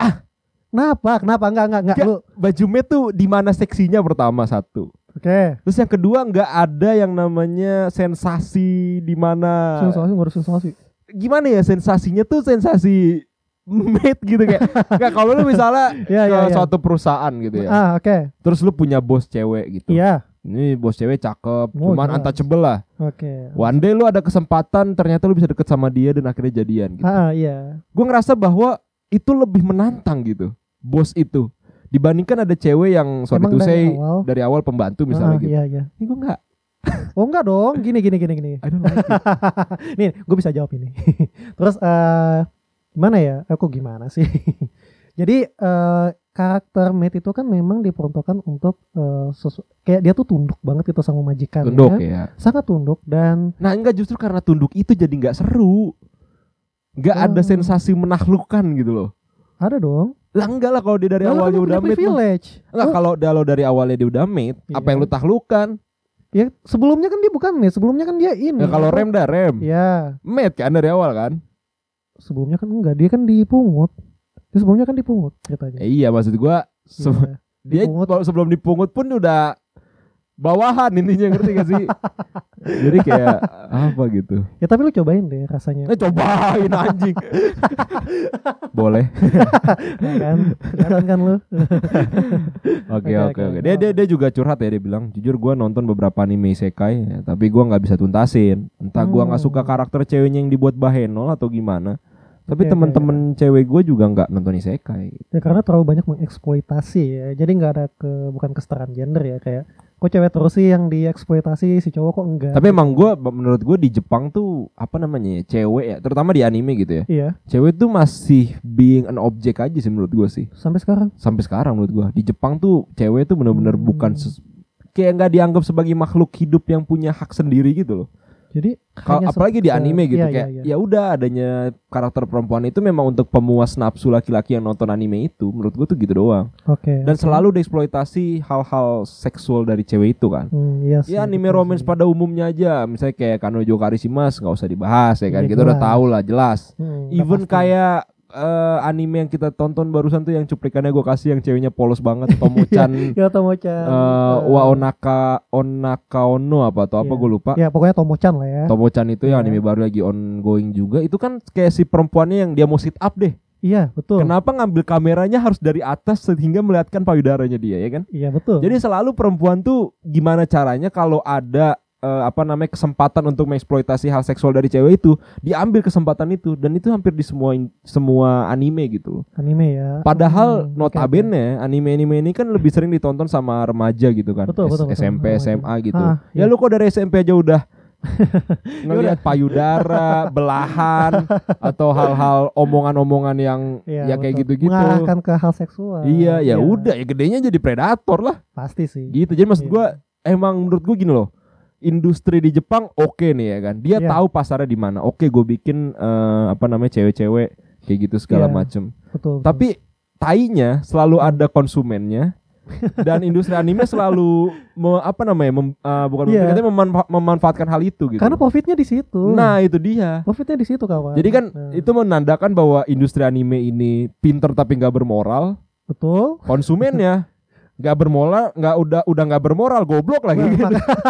Ah, kenapa? Kenapa? Enggak enggak enggak Enggak. lu. Baju maid tuh di mana seksinya pertama satu. Oke. Terus yang kedua nggak ada yang namanya sensasi di mana Sensasi nggak ada sensasi. gimana ya sensasinya tuh sensasi maid gitu kayak. Enggak kalau lu misalnya Iya ke iya iya. suatu perusahaan gitu ya. Ah oke. Terus lu punya bos cewek gitu. Iya. Ini bos cewek cakep, Oh, cuman jelas. untouchable lah. Oke. One day lu ada kesempatan ternyata lu bisa deket sama dia dan akhirnya jadian gitu. Ah ah, iya. Gue ngerasa bahwa itu lebih menantang gitu. Bos itu dibandingkan ada cewek yang sorry Emang to dari say awal? dari awal pembantu Ah, misalnya gitu. Iya iya. Ini gue enggak. Oh enggak dong. Gini gini gini gini. I don't like it. Nih, gue bisa jawab ini. Terus eh gimana ya? Aku gimana sih? Jadi eh karakter Matt itu kan memang diperuntukkan untuk eh, sesu- kayak dia tuh tunduk banget itu sama majikan. tunduk ya. Sangat tunduk dan Nah, enggak justru karena tunduk itu jadi enggak seru. Enggak ada Oh. sensasi menaklukkan gitu loh. ada dong. Lah enggak lah kalau dia dari Lalu kan awalnya lu punya udah mate. mah. privilege. Enggak Lu- kalau kalau dari awalnya dia udah mate, apa Iya. yang lu taklukkan? ya, sebelumnya kan dia bukan nih, sebelumnya kan dia ini. Ya kalau rem dah rem. Ya, Mate kan dari awal kan? sebelumnya kan enggak, dia kan dipungut. Dia sebelumnya kan dipungut ceritanya. Ya iya maksud gua se- Iya. dia Dipungut. kalau sebelum dipungut pun udah bawahan intinya ngerti gak sih? Jadi kayak apa gitu. Ya tapi lu cobain deh rasanya. Eh ya cobain anjing. Boleh. Ya kan? Kelihatan kan lu? Oke Oke, oke oke. oke. Dia dia dia juga curhat ya dia bilang, "Jujur gua nonton beberapa anime isekai, ya, tapi gua nggak bisa tuntasin. Entah gua nggak Hmm. suka karakter ceweknya yang dibuat bahenol atau gimana." Tapi Oke, oke, temen-temen cewek gue juga nggak nonton isekai. Ya karena terlalu banyak mengeksploitasi ya. Jadi nggak ada ke bukan kesetaraan gender ya kayak kok cewek terus sih yang dieksploitasi si cowok kok enggak. Tapi emang gua menurut gue di Jepang tuh apa namanya ya, cewek ya, terutama di anime gitu ya. iya, Cewek tuh masih being an object aja sih menurut gue sih. sampai sekarang. Sampai sekarang menurut gua di Jepang tuh cewek tuh bener-bener Hmm. bukan ses- kayak nggak dianggap sebagai makhluk hidup yang punya hak sendiri gitu loh. Jadi Kalau hanya apalagi di se- anime gitu iya, kayak iya, ya iya. udah adanya karakter perempuan itu memang untuk pemuas nafsu laki-laki yang nonton anime itu menurut gue tuh gitu doang. Oke. Dan selalu dieksploitasi hal-hal seksual dari cewek itu kan. Hmm, iya sih, Ya anime betul romance sih. pada umumnya aja, misalnya kayak Kanojo Karishimas nggak usah dibahas ya kan. Iya, kita udah jelas. tahu lah jelas. Hmm, udah Even pasti. kayak eh, anime yang kita tonton barusan tuh yang cuplikannya gue kasih yang ceweknya polos banget Tomo-chan ya eh, Tomo-chan. eh, Waonaka Onakaono apa atau apa Iya. gue lupa. Ya pokoknya Tomo-chan lah ya. Tomo-chan itu yang Iya. anime baru lagi ongoing juga itu kan kayak si perempuannya yang dia mau sit up deh. Iya, betul. Kenapa ngambil kameranya harus dari atas sehingga melihatkan payudaranya dia ya kan? Iya, betul. Jadi selalu perempuan tuh gimana caranya kalau ada eh, apa namanya kesempatan untuk mengeksploitasi hal seksual dari cewek itu diambil kesempatan itu dan itu hampir di semua semua anime gitu. anime ya. Padahal Hmm, oke, oke. notabene anime-anime ini kan lebih sering ditonton sama remaja gitu kan. Betul, betul, betul. SMP, Remaja. SMA gitu. Ah, Ya iya. lu kok dari SMP aja udah ngelihat payudara, belahan atau hal-hal omongan-omongan yang ya Iya, kayak betul. gitu-gitu. Mengarahkan ke hal seksual. Iya, ya udah ya gedenya jadi predator lah Pasti sih. gitu. Jadi maksud Iya. gua emang menurut gua gini loh. Industri di Jepang oke nih ya kan. Dia Iya. tahu pasarnya di mana. Oke, gue bikin eh, apa namanya cewek-cewek kayak gitu segala Iya. macem. Betul. betul. Tapi tainya selalu ada konsumennya dan industri anime selalu me- apa namanya mem- eh, bukan Iya. memberikan, tapi memanfa- memanfaatkan hal itu gitu. karena profitnya di situ. nah, itu dia. profitnya di situ kawan. Jadi kan Nah, itu menandakan bahwa industri anime ini pinter tapi nggak bermoral, betul. konsumennya nggak bermoral, nggak udah udah nggak bermoral, goblok lagi. Nah, maka-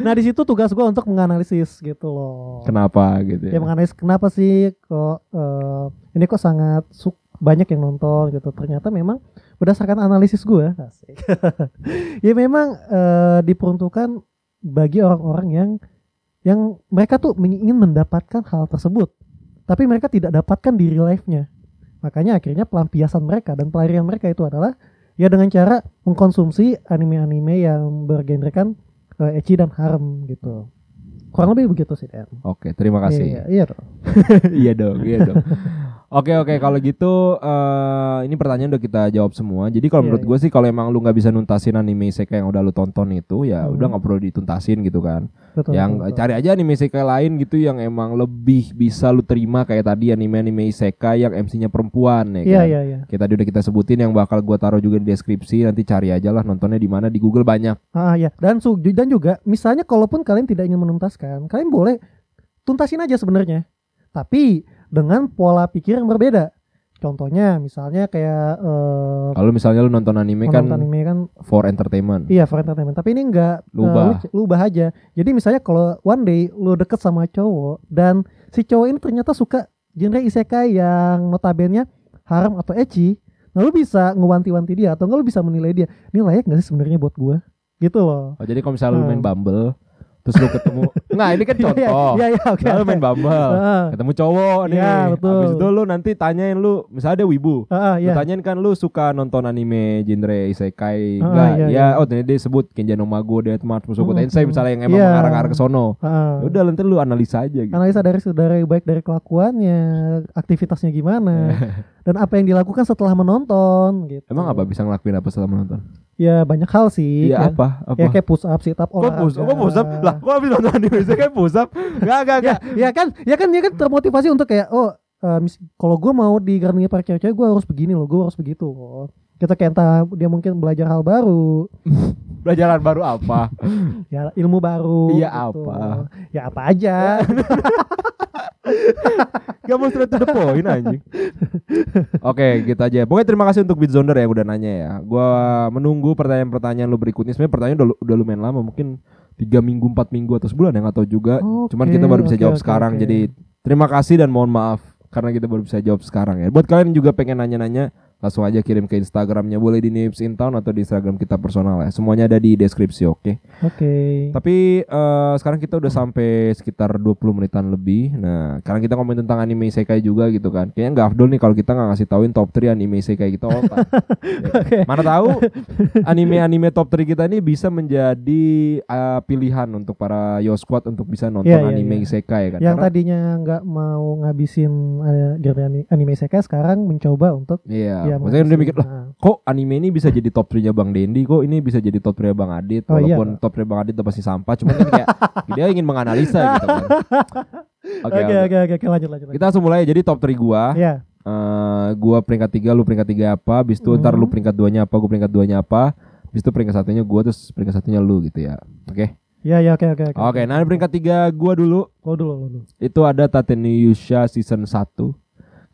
nah di situ tugas gua untuk menganalisis gitu loh. Kenapa gitu? Ya menganalisis kenapa sih kok eh, ini kok sangat su- banyak yang nonton gitu. Ternyata memang berdasarkan analisis gua asik. ya memang eh, diperuntukkan bagi orang-orang yang yang mereka tuh men- ingin mendapatkan hal tersebut tapi mereka tidak dapatkan di real life-nya makanya akhirnya pelampiasan mereka dan pelarian mereka itu adalah ya dengan cara mengkonsumsi anime-anime yang bergenrekan eh, ecchi dan harem gitu kurang lebih begitu sih Dan Oke, terima kasih. iya iya dong. Iya dong, iya dong. Oke oke kalau gitu eh, ini pertanyaan udah kita jawab semua. Jadi kalau Iya, menurut iya. gue sih kalau emang lu nggak bisa nuntasin anime isekai yang udah lu tonton itu ya Hmm. udah nggak perlu dituntasin gitu kan. betul yang betul, eh, betul. cari aja anime isekai lain gitu yang emang lebih bisa lu terima kayak tadi anime-anime isekai yang MC-nya perempuan ya iya kan. iya iya Kita udah kita sebutin yang bakal gua taruh juga di deskripsi nanti cari aja lah nontonnya di mana di Google banyak. Ah ya, dan su dan juga misalnya kalaupun kalian tidak ingin menuntaskan, kalian boleh tuntasin aja sebenarnya. Tapi dengan pola pikir yang berbeda. Contohnya misalnya kayak eh Kalau misalnya lu nonton anime kan menonton anime kan for entertainment. iya for entertainment, tapi ini enggak eh, Lu ubah. lu- lu ubah aja. Jadi misalnya kalau one day lu deket sama cowok dan si cowok ini ternyata suka genre isekai yang notabene haram atau ecchi, nah lu bisa ngewanti-wanti dia atau enggak lu bisa menilai dia, ini layak gak sih sebenarnya buat gua? Gitu loh. Oh, jadi kalau misalnya lu main Hmm. Bumble terus lu ketemu Nah, ini kan Iya, contoh. Iya, iya, oke. Nah, lu oke. main Bumble, Heeh, ketemu cowok nih. Iya, betul. Habis itu lu nanti tanyain lu, misalnya ada wibu. heeh, Lu iya. tanyain kan lu suka nonton anime genre isekai Ah, enggak? iya, ya, oh tadi dia sebut Kenja no Mago, Death March, Musoku Hmm, Tensei hmm. misalnya yang emang Iya. mengarah-arah ke sono. heeh. Ya Udah nanti lu analisa aja gitu. Analisa dari saudara baik dari kelakuannya, aktivitasnya gimana, dan apa yang dilakukan setelah menonton gitu. Iya. Emang apa bisa ngelakuin apa setelah menonton? Ya banyak hal sih. Iya ya, apa? Apa? ya kayak push up, sit up, Kok olahraga. push, kok push up? Lah, kok habis nonton anime isekai push up? Enggak, enggak, Ya, enggak. ya kan, ya kan, ya kan termotivasi untuk kayak oh, eh, mis- kalau gue mau digarninya para cewek-cewek gue harus begini loh, gue harus begitu loh. Kita kayak entah dia mungkin belajar hal baru, Iya. Pelajaran baru apa? ya ilmu baru. Iya, gitu. apa? Ya apa aja. Gak mau straight to the point anjing. Oke, gitu aja. Pokoknya terima kasih untuk Bitzonder ya udah nanya ya. Gua menunggu pertanyaan-pertanyaan lu berikutnya. Sebenarnya pertanyaan udah, udah lumayan lama, mungkin 3 minggu, 4 minggu atau sebulan ya nggak tahu juga. Cuman kita baru bisa Oke, jawab oke, sekarang. oke. Jadi terima kasih dan mohon maaf karena kita baru bisa jawab sekarang ya. Buat kalian yang juga pengen nanya-nanya, langsung aja kirim ke Instagramnya boleh di Nips in Town atau di Instagram kita personal ya. Semuanya ada di deskripsi, oke? Oke. Tapi eh, sekarang kita udah sampai sekitar 20 menitan lebih. Nah, sekarang kita ngomongin tentang anime isekai juga gitu kan. Kayaknya nggak afdol nih kalau kita nggak ngasih tauin top 3 anime isekai kita all time. Oke. Mana tahu anime-anime top 3 kita ini bisa menjadi eh, pilihan untuk para yo squad untuk bisa nonton Iya, iya, anime iya. isekai kan. Yang Karena- tadinya nggak mau ngabisin eh, genre ani- anime isekai sekarang mencoba untuk Iya, ya, maksudnya dia menghabisi. mikir lah Nah, kok anime ini bisa jadi top 3-nya Bang Dendi, kok ini bisa jadi top 3-nya Bang Adit, Oh, iya. walaupun top 3 Bang Adit udah pasti sampah, cuman kan kayak dia ingin menganalisa gitu kan. Oke, Oke oke. Gitu, ah. oke oke oke, lanjut lanjut. lanjut. Kita langsung mulai jadi top 3 gua. Ya, Eh, gua peringkat 3, lu peringkat 3 apa, habis itu ntar lu Hmm. peringkat 2-nya apa, gua peringkat 2-nya apa. Habis itu peringkat satunya gua terus peringkat satunya lu gitu ya. Oke. ya ya oke oke oke. Oke, nah peringkat 3 gua dulu Lo dulu lo dulu. itu ada Tatenuyusha season 1.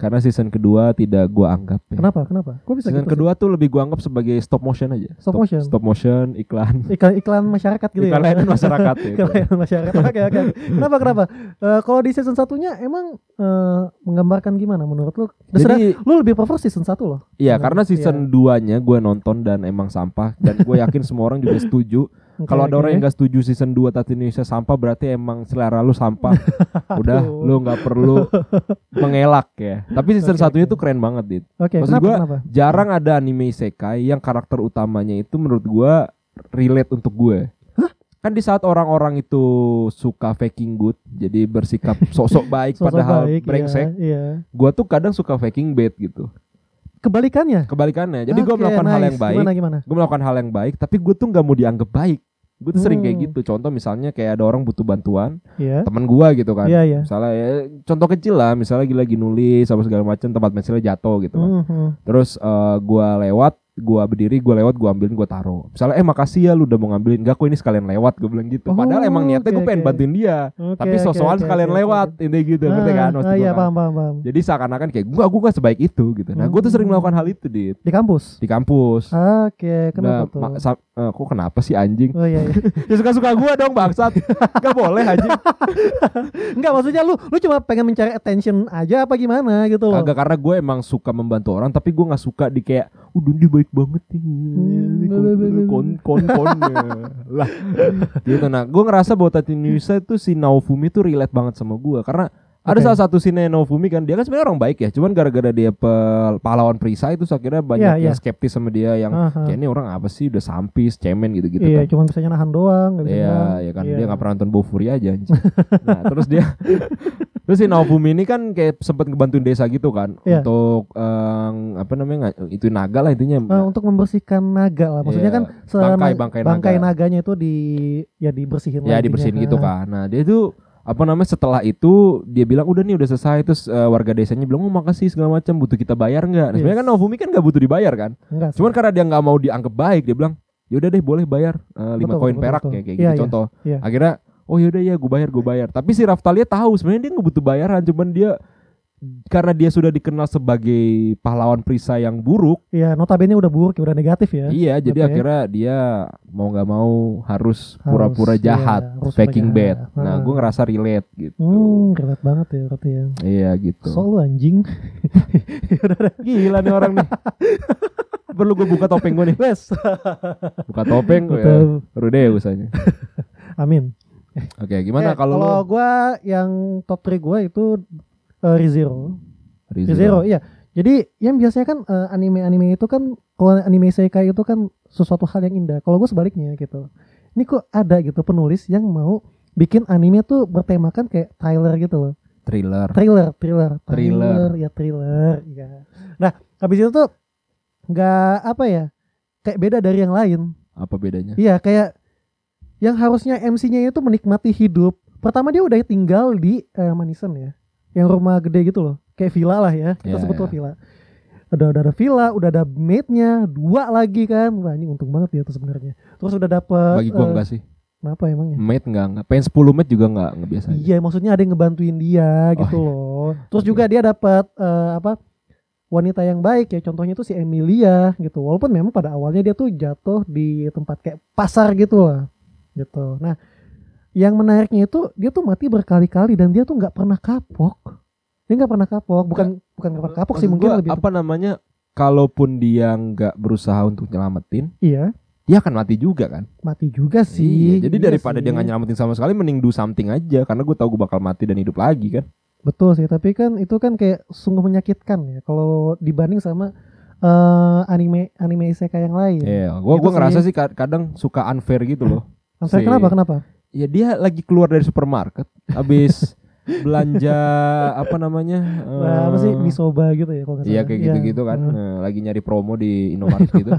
Karena season kedua tidak gua anggap. ya. Kenapa kenapa? Kok bisa Season gitu kedua tuh lebih gua anggap sebagai stop motion aja. Stop motion? Stop motion iklan. sih? Iklan iklan masyarakat gitu iklan ya. layanan masyarakat ya. Iklan layanan masyarakat. Oke oke. Kenapa kenapa? Eh, kalau di season satunya emang eh, menggambarkan gimana menurut lu? Jadi, Jadi lu lebih prefer season 1 loh. iya Iya, karena season 2-nya gue nonton dan emang sampah dan gue yakin semua orang juga setuju Oke, Kalau ada oke. orang yang gak setuju season 2 Tati Indonesia sampah berarti emang selera lu sampah. Udah Aduh. lu nggak perlu mengelak ya. Tapi season Oke, satunya oke. tuh keren banget, Dit. Oke, Maksud kenapa gua- kenapa? Jarang ada anime isekai yang karakter utamanya itu menurut gua relate untuk gue. Kan di saat orang-orang itu suka faking good, jadi bersikap sosok baik Sosok padahal baik, brengsek, Iya. iya. gua tuh kadang suka faking bad gitu. Kebalikannya. Kebalikannya, jadi gua Oke, melakukan hal nice. yang baik, Gimana gimana? gue melakukan hal yang baik tapi gue tuh nggak mau dianggap baik gue tuh sering kayak Hmm. gitu contoh misalnya kayak ada orang butuh bantuan Iya. teman gue gitu kan Iya iya. misalnya ya, contoh kecil lah misalnya lagi lagi nulis apa segala macam tempat pensilnya jatuh gitu kan. Mhm. terus eh, gue lewat gue berdiri gue lewat gue ambilin gue taruh misalnya eh makasih ya lu udah mau ngambilin gak kok ini sekalian lewat gue bilang gitu Oh, padahal emang niatnya oke, gue pengen oke. bantuin dia Oke, tapi oke, sosokan oke, sekalian oke, lewat oke. intinya gitu ngerti Ah, kan maksud ah, gua iya kan. paham paham paham. jadi seakan-akan kayak gue gue gak sebaik itu gitu nah gue tuh sering Hmm. melakukan hal itu dit Di kampus. di kampus Oke, kenapa Nah, tuh? ma- sa- eh, kok kenapa sih anjing? Oh iya, iya. ya suka-suka gua dong bangsat. Gak boleh anjing. Enggak maksudnya lu lu cuma pengen mencari attention aja apa gimana gitu loh. Agak karena gue emang suka membantu orang tapi gue nggak suka di kayak udah dia baik banget nih. Hmm, kon kon kon ya. lah gitu nah gue ngerasa bahwa Tati Nusa itu si Naofumi tuh relate banget sama gue karena ada Oke. salah satu scene Naofumi kan dia kan sebenarnya orang baik ya cuman gara-gara dia pe- pahlawan perisai itu akhirnya banyak Iya, yang iya. skeptis sama dia yang Aha. kan. kayak ini orang apa sih udah sampis cemen gitu-gitu iya, kan cuma bisa nahan doang, nggak bisa nyerang. Iya, ya kan Iya. dia nggak pernah nonton Bofuri aja. anjing. nah, terus dia terus si Naofumi ini kan kayak sempet ngebantuin desa gitu kan Iya. untuk eh, apa namanya nggak- itu naga lah intinya. Eh, untuk membersihkan naga lah. Iya, Maksudnya kan selama- bangkai-bangkai naga. naganya itu di ya dibersihin ya lah dibersihin intinya. gitu Ah, kan. Nah, dia itu apa namanya setelah itu dia bilang udah nih udah selesai terus eh, warga desanya bilang oh makasih segala macam butuh kita bayar nggak? Nah, sebenarnya kan Yes. Naofumi kan nggak butuh dibayar kan. Enggak. sih. Cuman karena dia nggak mau dianggap baik, dia bilang, yaudah deh boleh bayar eh, lima Betul, koin betul, perak betul. kayak kayak Iya, gitu iya, contoh. iya. Akhirnya, oh yaudah ya gue bayar gue bayar. Tapi si Raftalia tahu sebenarnya dia nggak butuh bayaran, cuman dia karena dia sudah dikenal sebagai pahlawan perisai yang buruk, Iya, notabene udah buruk, ya, udah negatif ya. iya. Jadi Oke. akhirnya dia mau nggak mau harus Harus, pura-pura iya, jahat, harus faking bad. pura jahat. Nah, Hmm. gue ngerasa relate gitu. Hmm, keren banget ya berarti ya. Iya gitu. So lu anjing. Gila nih orang nih. Perlu gue buka topeng gue nih. Wes. Buka topeng gue. Ya. Betul. Rude usahanya. Amin. Oke, gimana Eh, kalau kalau lo? gua yang top 3 gua itu eh, ReZero. ReZero. Rizero. iya. Jadi yang biasanya kan eh, anime-anime itu kan kalau anime isekai itu kan sesuatu hal yang indah. Kalau gue sebaliknya gitu. Ini kok ada gitu penulis yang mau bikin anime tuh bertemakan kayak thriller gitu loh. thriller. Thriller, thriller, Thriller. ya thriller, ya. Nah, habis itu tuh nggak apa ya? Kayak beda dari yang lain. Apa bedanya? Iya, kayak yang harusnya MC-nya itu menikmati hidup. Pertama dia udah tinggal di eh, Manison ya. Yang rumah gede gitu loh. Kayak villa lah ya. Kita Iya, sebut iya. lah villa. Udah, udah ada villa, udah ada maidnya, dua lagi kan. Wah ini untung banget dia tuh sebenarnya. Terus udah dapet. Bagi gua eh, enggak sih. Kenapa ya? emangnya? Mate enggak, enggak. Pengen 10 mate juga enggak, enggak biasa. aja. Iya maksudnya ada yang ngebantuin dia gitu loh. Oh, iya. Terus Oke. juga dia dapat eh, apa wanita yang baik ya contohnya tuh si Emilia gitu. Walaupun memang pada awalnya dia tuh jatuh di tempat kayak pasar gitu lah gitu. Nah yang menariknya itu dia tuh mati berkali-kali dan dia tuh nggak pernah kapok. Dia nggak pernah kapok, bukan bukan nggak pernah Iya, kapok sih Maksud mungkin gua, lebih apa namanya? Kalaupun dia enggak berusaha untuk nyelamatin, iya dia akan mati juga kan? mati juga Iya, sih. Jadi Iya daripada dia sih. enggak nyelamatin sama sekali mending do something aja karena gue tahu gue bakal mati dan hidup lagi kan. Betul sih, tapi kan itu kan kayak sungguh menyakitkan ya kalau dibanding sama eh, anime anime isekai yang lain. Iya, gua Itu gua sih. ngerasa sih kad- kadang suka unfair gitu loh. Maksudnya si- kenapa? Kenapa? Ya dia lagi keluar dari supermarket habis belanja apa namanya? Nah, apa sih eh, misoba gitu ya kalau Iya nggak salah. Hmm, kayak gitu-gitu kan Heeh. Nah, lagi nyari promo di Indomaret gitu.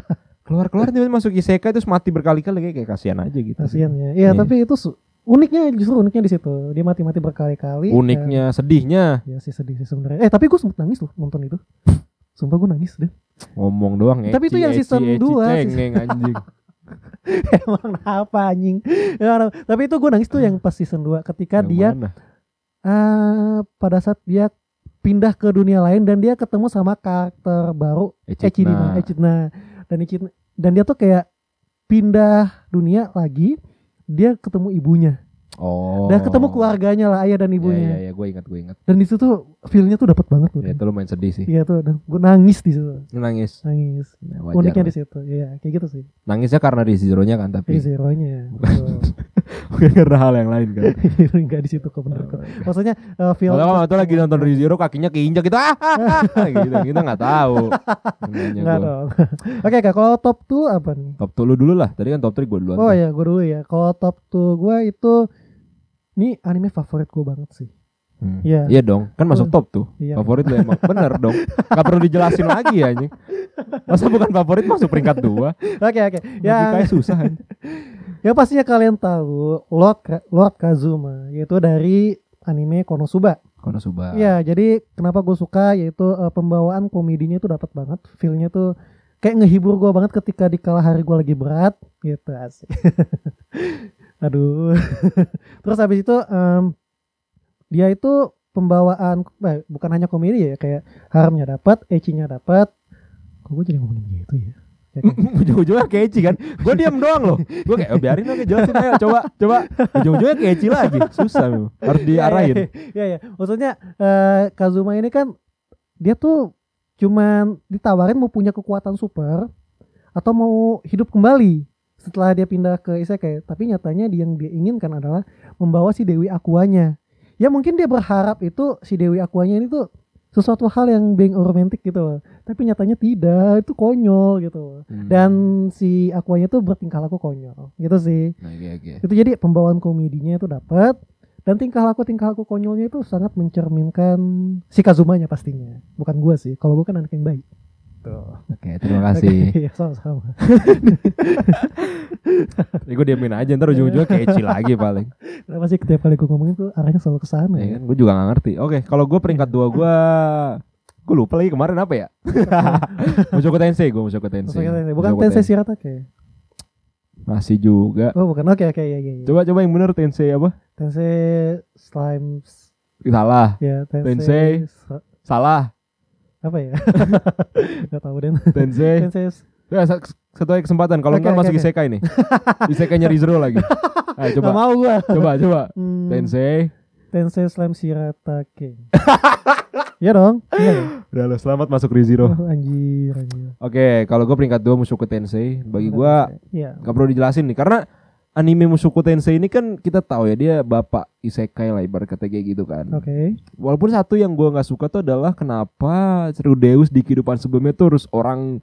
Keluar-keluar tiba masuk ISK terus mati berkali-kali kayak, kayak kasihan aja gitu. Kasihan ya. Iya, Iya. tapi itu su- uniknya justru uniknya di situ. Dia mati-mati berkali-kali. dan- Uniknya, sedihnya ya sih sedih sih sebenarnya. Eh, tapi gue sempet nangis loh nonton itu. Sumpah gue nangis deh. ngomong doang ya. Tapi itu yang season dua, Cengeng anjing. Emang apa anjing? Emang kenapa? tapi itu gue nangis tuh yang pas season 2 Yang ketika kan dia mana? ah, pada saat dia pindah ke dunia lain dan dia ketemu sama karakter baru eh, Echidna. Echidna, Echidna. Dan Echidna dan dia tuh kayak pindah dunia lagi, dia ketemu ibunya. Oh. Dan ketemu keluarganya lah, ayah Iya dan iya ibunya. iya gue ingat gue ingat. Dan di situ tuh feel-nya tuh dapat banget tuh. Ya, itu lumayan sedih sih. Iya tuh, dan gue nangis di situ, Nangis. nangis. Ya, wajar. Uniknya di Iya situ, iya kayak gitu sih. Nangisnya karena di nya kan Di tapi zeronya, bukan karena hal yang lain Iya. kan. enggak di situ kok bener kok. Maksudnya eh, feel. Kalau waktu itu lagi nonton Rizero kakinya keinjak gitu. Ah, ah, ah, gitu. Kita nggak tahu. Nanya Enggak gua. dong. Oke kak, kalau top 2 apa nih? Top 2 lu dulu lah. Tadi kan top 3 gue duluan. Oh ya, gue dulu ya. Kalau top 2 gue itu, ini anime favorit gue banget sih. Hmm. Iya. Iya dong, kan masuk top tuh. Iya. Favorit lu emang bener dong. Gak perlu dijelasin lagi ya anjing. Masa bukan favorit masuk peringkat dua? Oke oke. Logikanya Yang susah. anjing. yang pastinya kalian tahu Lord Ka- Lord Kazuma yaitu dari anime Konosuba. Konosuba. Iya, jadi kenapa gue suka yaitu eh, pembawaan komedinya itu dapat banget, feelnya tuh kayak ngehibur gue banget ketika di kala hari gue lagi berat gitu asik. Aduh. Terus habis itu em, dia itu pembawaan eh, bukan hanya komedi ya kayak haramnya dapat, ecinya dapat. Kok gue jadi ngomongin gitu ya? Ya kan? ujung-ujungnya keci kan gue diam doang loh gue kayak oh, biarin aja jelasin aja coba coba ujung-ujungnya keci lagi susah memang harus Iya, diarahin Ya ya. Maksudnya eh, Kazuma ini kan dia tuh cuman ditawarin mau punya kekuatan super atau mau hidup kembali setelah dia pindah ke isekai. Tapi nyatanya dia- yang dia inginkan adalah membawa si Dewi Aquanya. Ya mungkin dia berharap itu si Dewi Aquanya ini tuh sesuatu hal yang being romantic gitu loh. Tapi nyatanya tidak, itu konyol gitu loh. Hmm. Dan si Aquanya tuh bertingkah laku konyol gitu sih oke oke itu jadi pembawaan komedinya itu dapat dan tingkah laku tingkah laku konyolnya itu sangat mencerminkan si Kazumanya pastinya bukan gua sih kalau gua kan anak yang baik tuh oke terima Iya, sama-sama gue diamin aja ntar ujung-ujungnya keci lagi paling kenapa sih tiap Nah, kali gua ngomongin tuh arahnya selalu ke sana ya ya kan gue juga gak ngerti oke kalau gue peringkat dua gue gue lupa lagi kemarin apa ya Mushoku Tensei gue Mushoku Tensei Maksudnya, bukan Mushoku Tensei Shiratake masih juga oh bukan oke oke iya iya iya. coba coba yang bener Tensei apa Tensei Slime salah ya Tensei. Tensei, Sa- salah apa ya nggak tahu deh Tensei Tensei Ya, sa- satu lagi kesempatan kalau Oke, enggak oke, masuk oke. isekai nih isekainya Rizro lagi Ayo, coba nggak mau gua coba coba Hmm, Tensei Tensei Slime Shiratake Iya dong Iya dong? udah lo selamat masuk Rizro oke Oh, anjir, anjir. kalau gue peringkat dua Mushoku Tensei bagi gue Iya. nggak perlu dijelasin nih karena anime Mushoku Tensei ini kan kita tahu ya dia bapak isekai lah ibarat kata kayak gitu kan Oke. walaupun satu yang gua nggak suka tuh adalah kenapa Deus di kehidupan sebelumnya tuh harus orang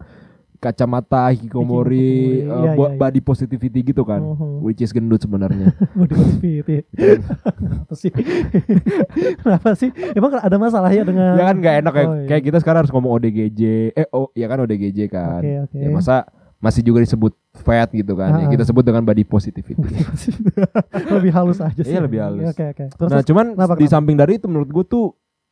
kacamata hikikomori Hikikomori, eh, iya, bo- iya, iya. body positivity gitu kan Mhm. which is gendut sebenarnya Body positivity. Kenapa sih? Kenapa sih? Emang ada masalah ya dengan ya kan nggak enak kayak, Oh, iya. kayak kita sekarang harus ngomong ODGJ eh oh ya kan ODGJ kan Oke, oke. ya masa masih juga disebut fat gitu kan ya Ah. kita sebut dengan body positivity lebih halus aja sih. Iya, lebih halus. Oke, oke. Terus nah cuman kenapa, di kenapa? samping dari itu menurut gue tuh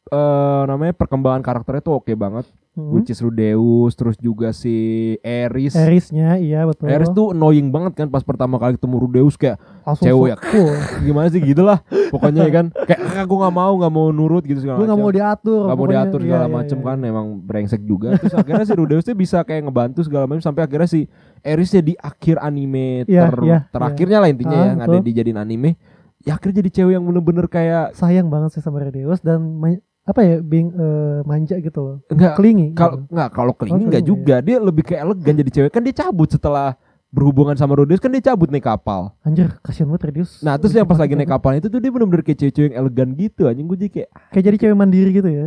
eh namanya perkembangan karakternya tuh oke banget hmm, which is Rudeus terus juga si Eris Erisnya iya betul. Eris tuh annoying banget kan pas pertama kali ketemu Rudeus kayak Langsung cewek ya. full. gimana sih gitu lah pokoknya ya kan kayak ah, gue nggak mau nggak mau nurut gitu segala Gue gak mau macam diatur. nggak mau pokoknya. diatur segala Iya, iya, macem iya. kan emang brengsek juga terus akhirnya si Rudeus tuh bisa kayak ngebantu segala macam sampai akhirnya si Erisnya di akhir anime Iya, ter- iya, terakhirnya lah intinya Ah, ya nggak ada betul. dijadiin anime ya akhirnya jadi cewek yang bener-bener kayak Sayang banget sih sama Redeus dan ma- apa ya being eh, manja gitu loh. enggak Klingi. Kalau nggak kalau Oh, kelingi nggak kelingi, juga, dia lebih kayak elegan jadi cewek kan dia cabut setelah berhubungan sama Rodius kan dia cabut naik kapal. gitu. anjir kasihan banget gitu. Redeus. Nah terus yang pas lagi naik kapal itu tuh dia bener-bener kayak cewek-cewek yang elegan gitu anjing gue jadi kayak Kayak jadi cewek mandiri gitu ya.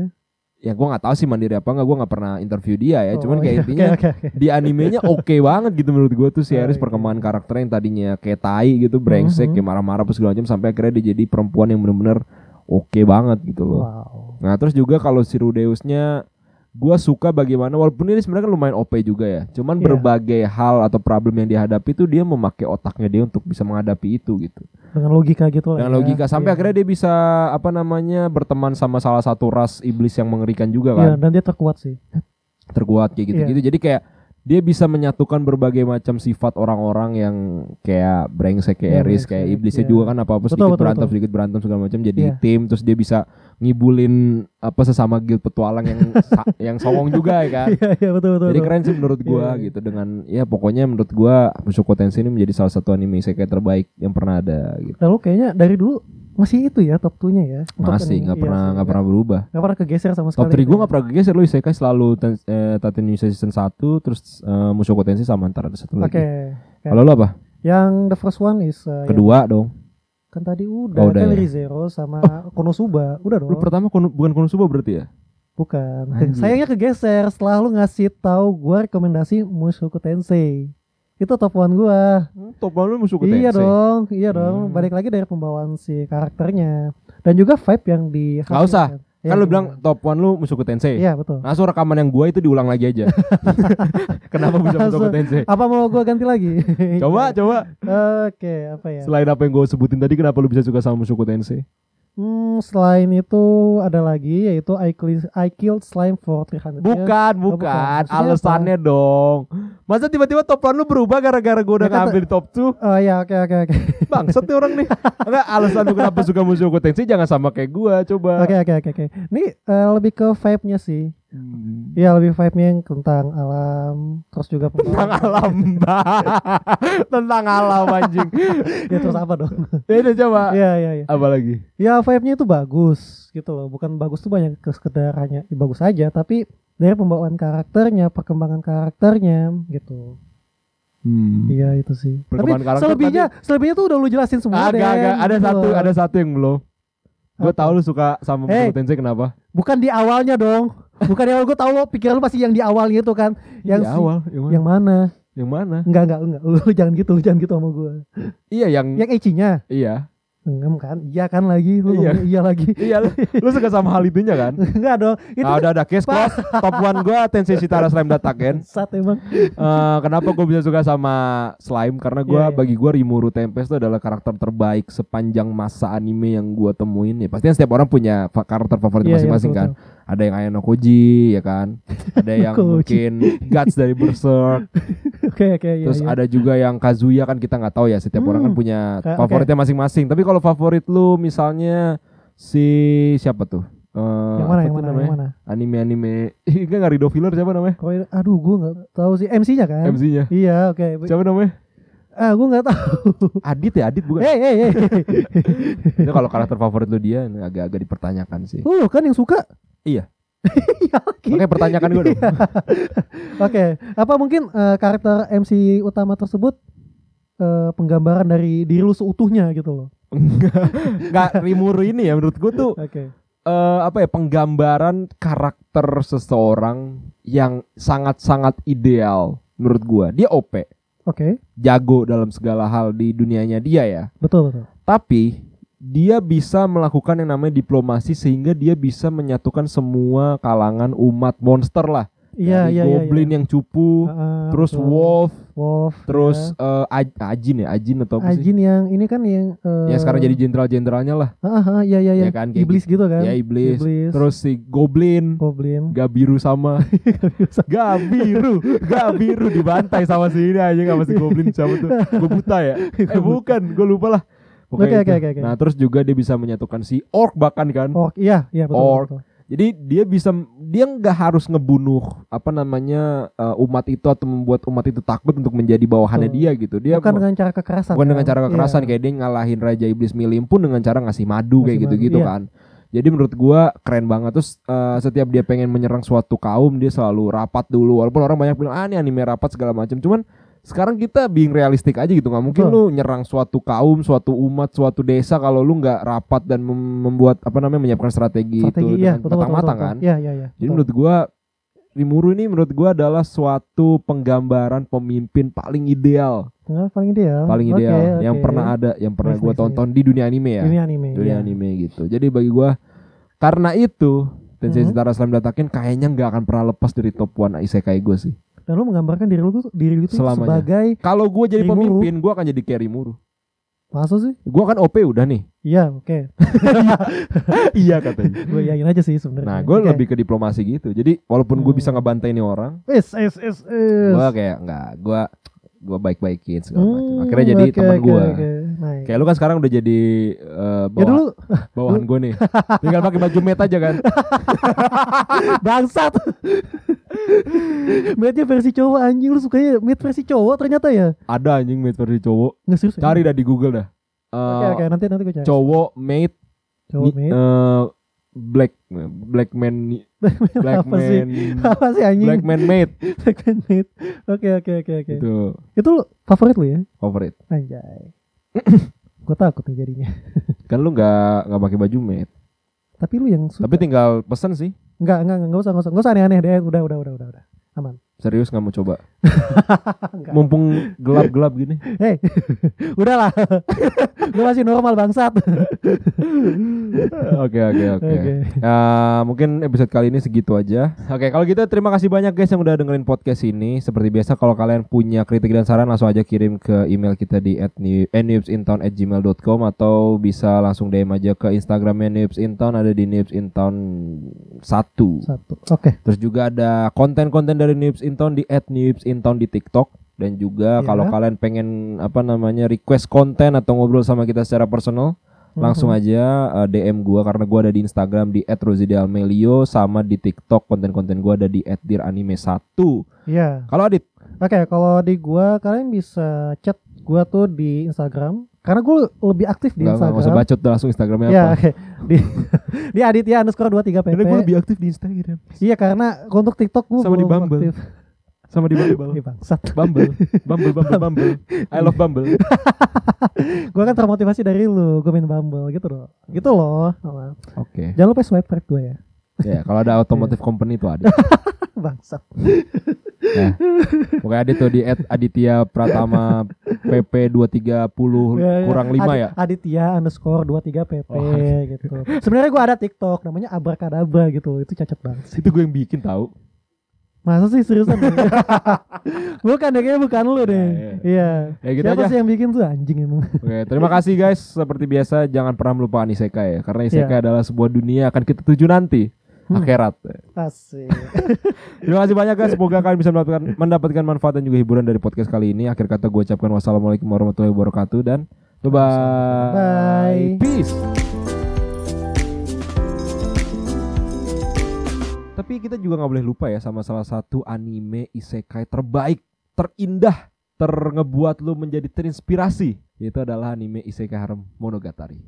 ya gue nggak tahu sih mandiri apa nggak gue nggak pernah interview dia ya cuman Oh, kayak iya. intinya Oke, oke, oke. di animenya oke banget gitu menurut gue tuh si Oh, Aris iya. perkembangan karakter yang tadinya kayak tai gitu brengsek Mhm. kayak marah-marah apa segala macam sampai akhirnya dia jadi perempuan yang bener-bener oke banget gitu loh. Wow. Nah terus juga kalau si Rudeusnya gue suka bagaimana walaupun ini sebenarnya kan lumayan OP juga ya. Cuman Iya. berbagai hal atau problem yang dihadapi tuh dia memakai otaknya dia untuk bisa menghadapi itu gitu. Dengan logika gitu lah. Dengan ya. logika sampai Iya. akhirnya dia bisa apa namanya berteman sama salah satu ras iblis yang mengerikan juga Iya, kan. dan dia terkuat sih. Terkuat kayak gitu-gitu. Iya. Jadi kayak dia bisa menyatukan berbagai macam sifat orang-orang yang kayak brengsek Iya, kayak Eris, kayak brengsek, iblisnya iya. juga kan apa-apa Betul, sedikit betul, berantem, betul. sedikit berantem segala macam jadi Iya. tim terus dia bisa ngibulin apa sesama guild petualang yang sa- yang songong juga ya kan. Iya, iya betul betul. Jadi betul. keren sih menurut gua Iya, iya. gitu dengan ya pokoknya menurut gua Mushoku Tensei ini menjadi salah satu anime isekai terbaik yang pernah ada gitu. Lalu kayaknya dari dulu masih itu ya top 2-nya ya. Untuk Masih anime. nggak Iya pernah sih, nggak pernah berubah. nggak pernah kegeser sama sekali. Top 3 gitu gue ya. gak pernah kegeser lu Isekai selalu ten, eh, Taten Yusei season 1 Terus eh, Mushoku Tensei sama ntar ada satu Oke. lagi Kalau lu apa? Yang the first one is uh, yang- Kedua dong kan tadi udah, Oh, udah kan ya. Zero sama Konosuba. Udah dong. Lu pertama kono- bukan Konosuba berarti ya? Bukan. Anjir. Sayangnya kegeser setelah lu ngasih tahu gua rekomendasi Mushoku Tensei. Itu top 1 gua. Top lu musuh Iya dong, iya Hmm. dong. Balik lagi dari pembawaan si karakternya dan juga vibe yang di gitu. Nggak usah. Kan lu bilang top 1 lu musuh Tensei. Iya, betul. Langsung rekaman yang gua itu diulang lagi aja. Kenapa bisa musuh Langsung. Tensei? Apa mau gua ganti lagi? Coba coba Iya. Oke, apa ya? selain apa yang gua sebutin tadi kenapa lu bisa suka sama musuh Tensei? Hmm, selain itu ada lagi yaitu I killed, I killed slime for 300 years. Bukan, Oh, bukan. bukan. Maksudnya Alasannya dong. Masa tiba-tiba top 1 lu berubah gara-gara gua udah Ya, kata- ngambil di top 2? Oh iya, oke oke oke. Bangsat nih orang nih. Enggak, alasan lu kenapa suka musuh Tensei jangan sama kayak gua, coba. Oke oke oke oke. Ini eh, lebih ke vibe-nya sih. Hmm. Iya lebih vibe-nya yang tentang alam, terus juga Tentang pengalaman. alam, Mbak. Tentang alam anjing. ya terus apa dong? Ya udah coba. Iya iya iya. Apa lagi? Ya vibe-nya itu bagus gitu loh. Bukan bagus tuh banyak ke sekedar hanya ya, bagus aja, tapi dari pembawaan karakternya, perkembangan karakternya gitu. Hmm. Iya itu sih. Tapi Perkembangan karakter selebihnya selebihnya tuh udah lu jelasin semua Agak, Den, agak. Ada gitu satu, loh. ada satu yang belum. Gue Apa? Eh, tau lu suka sama Hey. Muscle Tensei kenapa? Bukan di awalnya dong. Bukan di awal gue tahu lo pikiran lu pasti yang di awal gitu kan. Yang Di si- awal, yang mana? Yang mana? Yang mana? Enggak enggak enggak. Lu, lu jangan gitu, lu jangan gitu sama gue. Iya, yang, Yang ecinya? iya. Enggak kan? Iya kan lagi. Lu Iya. ngomongnya iya lagi. Iya, lu, lu suka sama hal itunya kan? Enggak dong. Itu Ah, udah, udah, case close. Top 1 gue Tensei Sitara Slam Dataken. Sat emang. Eh, kenapa gue bisa suka sama slime karena gue Iya, iya. bagi gue Rimuru Tempest itu adalah karakter terbaik sepanjang masa anime yang gue temuin ya pasti kan setiap orang punya fa- karakter favorit Iya, iya, masing-masing kan betul, ada yang Ayano Koji ya kan ada yang Koji. mungkin Guts dari Berserk Oke oke iya. terus iya. ada juga yang Kazuya kan kita nggak tahu ya setiap orang kan Hmm. punya Ka- favoritnya masing-masing tapi kalau favorit lu misalnya si siapa tuh Eh, yang mana apa yang tuh mana namanya? yang mana? anime-anime enggak nggak Rido Filler siapa namanya Kau aduh gue nggak tahu sih MC-nya kan. MC-nya Iya oke. siapa namanya Ah gue nggak tahu. Adit ya Adit bukan Hei hei hei. Itu kalau karakter favorit lu dia nah, agak-agak dipertanyakan sih. Lu kan yang suka. Iya. Iya lagi. Oke, pertanyakan gue dong. Oke, apa mungkin eh, karakter MC utama tersebut eh, penggambaran dari diri lu seutuhnya gitu loh. Enggak Rimuru ini ya menurut gue tuh Oke. eh, apa ya penggambaran karakter seseorang yang sangat-sangat ideal menurut gua. Dia OP, Oke, jago dalam segala hal di dunianya dia ya. betul betul. Tapi dia bisa melakukan yang namanya diplomasi sehingga dia bisa menyatukan semua kalangan umat monster lah. Iya, Dari iya, iya. goblin iya. yang cupu, Ah, terus betul. wolf, Wolf. terus eh, aj- ajin ya, ajin atau ya. apa sih? Ajin yang ini kan yang eh, Ya sekarang jadi jenderal-jenderalnya lah Ah, ah, ah, iya iya Ya iya. kan, kayak Iblis gitu kan. Ya iblis. Iblis. Terus si Goblin goblin. Gabiru sama Gabiru Gabiru dibantai sama si ini aja sama si Goblin siapa tuh Gue buta ya Eh bukan gue lupa lah Pokoknya Oke, itu. oke, oke, oke. Nah terus juga dia bisa menyatukan si Orc bahkan kan Orc, iya, iya betul. Orc. betul. Jadi dia bisa Dia nggak harus ngebunuh Apa namanya eh, Umat itu atau membuat umat itu takut Untuk menjadi bawahannya Betul. dia gitu Dia Bukan mau- dengan cara kekerasan. bukan dengan kan? cara kekerasan Iya. kayak gitu, dia ngalahin raja iblis milim pun dengan cara ngasih madu kayak Ngasih gitu-gitu madu, iya. kan jadi menurut gua keren banget terus eh, setiap dia pengen menyerang suatu kaum dia selalu rapat dulu walaupun orang banyak bilang ah ini anime rapat segala macam cuman sekarang kita being realistik aja gitu nggak mungkin lu nyerang suatu kaum suatu umat suatu desa kalau lu nggak rapat dan mem- membuat apa namanya menyiapkan strategi, Strategi, itu iya, dengan betul, betul, matang-matang betul, kan betul. Iya, iya, iya. jadi betul. menurut gua Rimuru ini menurut gua adalah suatu penggambaran pemimpin paling ideal Nah, paling ideal. paling Oke, ideal yang oke. pernah ada yang pernah Nice, gue nice, tonton di dunia anime ya Ini anime. dunia iya. anime gitu jadi bagi gue karena itu Tensei Mhm. Sitara Slam Dataken kayaknya nggak akan pernah lepas dari top 1 isekai gue sih. Dan lu menggambarkan diri lu tuh diri lu tuh Selamanya. sebagai Kalau gue jadi Rimuru. pemimpin, gue akan jadi kayak Rimuru. masa sih? Gue kan OP udah nih. Iya, oke. iya katanya. Gue yakin aja sih sebenarnya. Nah, gue ya. Oke. lebih ke diplomasi gitu. Jadi walaupun gue Hmm. bisa ngebantai ini orang, es es es es. gue kayak nggak, gue gue baik-baikin segala macam. Hmm, Akhirnya jadi oke, teman oke, gue. oke. Nice. Kayak lu kan sekarang udah jadi eh, Ya bawah, dulu bawahan gue nih. Tinggal pakai baju met aja kan. ah, bangsat. Mate versi cowok anjing lu sukanya mid versi cowok ternyata ya. Ada anjing mate versi cowok. Nggak serius. ya? Cari dah di Google dah. Eh, Oke oke nanti nanti gue cari. Cowok mate, Cowok ni- mid. eh, black black man ni- black Apa sih? man Apa sih anjing? black man mate Black man mid. Oke oke oke oke. itu Itu lu favorit lu ya? favorit. Anjay. gue takut nih jadinya. Kan lu nggak nggak pakai baju mate. Tapi lu yang suka. Tapi tinggal pesan sih. Enggak, enggak, enggak, enggak usah, enggak usah, enggak usah aneh-aneh deh. Udah, udah, udah, udah, udah. Ah, Aman. Serius nggak mau coba. Enggak. Mumpung gelap-gelap gini. Hei, udahlah. Lu masih normal bangsat. Oke oke oke. Oke. Eh, mungkin episode kali ini segitu aja. Oke, kalau gitu terima kasih banyak guys yang udah dengerin podcast ini. Seperti biasa kalau kalian punya kritik dan saran langsung aja kirim ke email kita di @newsintown@gmail.com atau bisa langsung DM aja ke Instagramnya newsintown ada di newsintown 1. Satu. Oke. Terus juga ada konten-konten dari Nips Intown di @nipsintown di TikTok dan juga Iya. kalau kalian pengen apa namanya request konten atau ngobrol sama kita secara personal Hmm. langsung aja uh, DM gua karena gua ada di Instagram di @rozidialmelio sama di TikTok konten-konten gua ada di @diranime1. Iya. Kalau Adit, Oke, kalau di gua kalian bisa chat gua tuh di Instagram karena gua lebih aktif di nggak nggak usah Instagram. bacot dah langsung Instagramnya Iya, apa? oke. Di di Aditya underscore 23 PP. Karena Ya. gua lebih aktif di Instagram Iya, karena untuk TikTok gua Sama di belum Bumble. aktif. sama di Bumble. Ih, bangsat. Bumble, Bumble, Bumble, Bumble. I love Bumble. Gua kan termotivasi dari lu, gua main Bumble gitu loh. Gitu loh. Oke. Jangan lupa swipe right gue ya. Ya, kalau ada otomotif company tuh Adit. Bangsat. Pokoknya Adit tuh di Aditya Pratama PP 230 Ya, ya. kurang 5 Adi- ya. Aditya underscore 23 PP Oh, Adit. gitu. Sebenarnya gue ada TikTok namanya Abrakadabra gitu. Itu cacat banget. sih. Itu gue yang bikin tahu. Masa sih seriusan? bukan deh kayaknya bukan lu deh. Ya, Iya. Ya gitu Siapa aja. sih yang bikin tuh anjing emang? Oke, terima kasih guys. Seperti biasa, jangan pernah melupakan Isekai ya. Karena Isekai adalah sebuah dunia yang akan kita tuju nanti. Hmm. Akhirat. ya. Asik. Terima kasih banyak guys. Semoga kalian bisa mendapatkan, mendapatkan manfaat dan juga hiburan dari podcast kali ini. Akhir kata gue ucapkan wassalamualaikum warahmatullahi wabarakatuh. Dan bye-bye. Bye. Peace. Tapi kita juga nggak boleh lupa ya sama salah satu anime isekai terbaik, terindah, terngebuat lu menjadi terinspirasi. Itu adalah anime Isekai Harem Monogatari.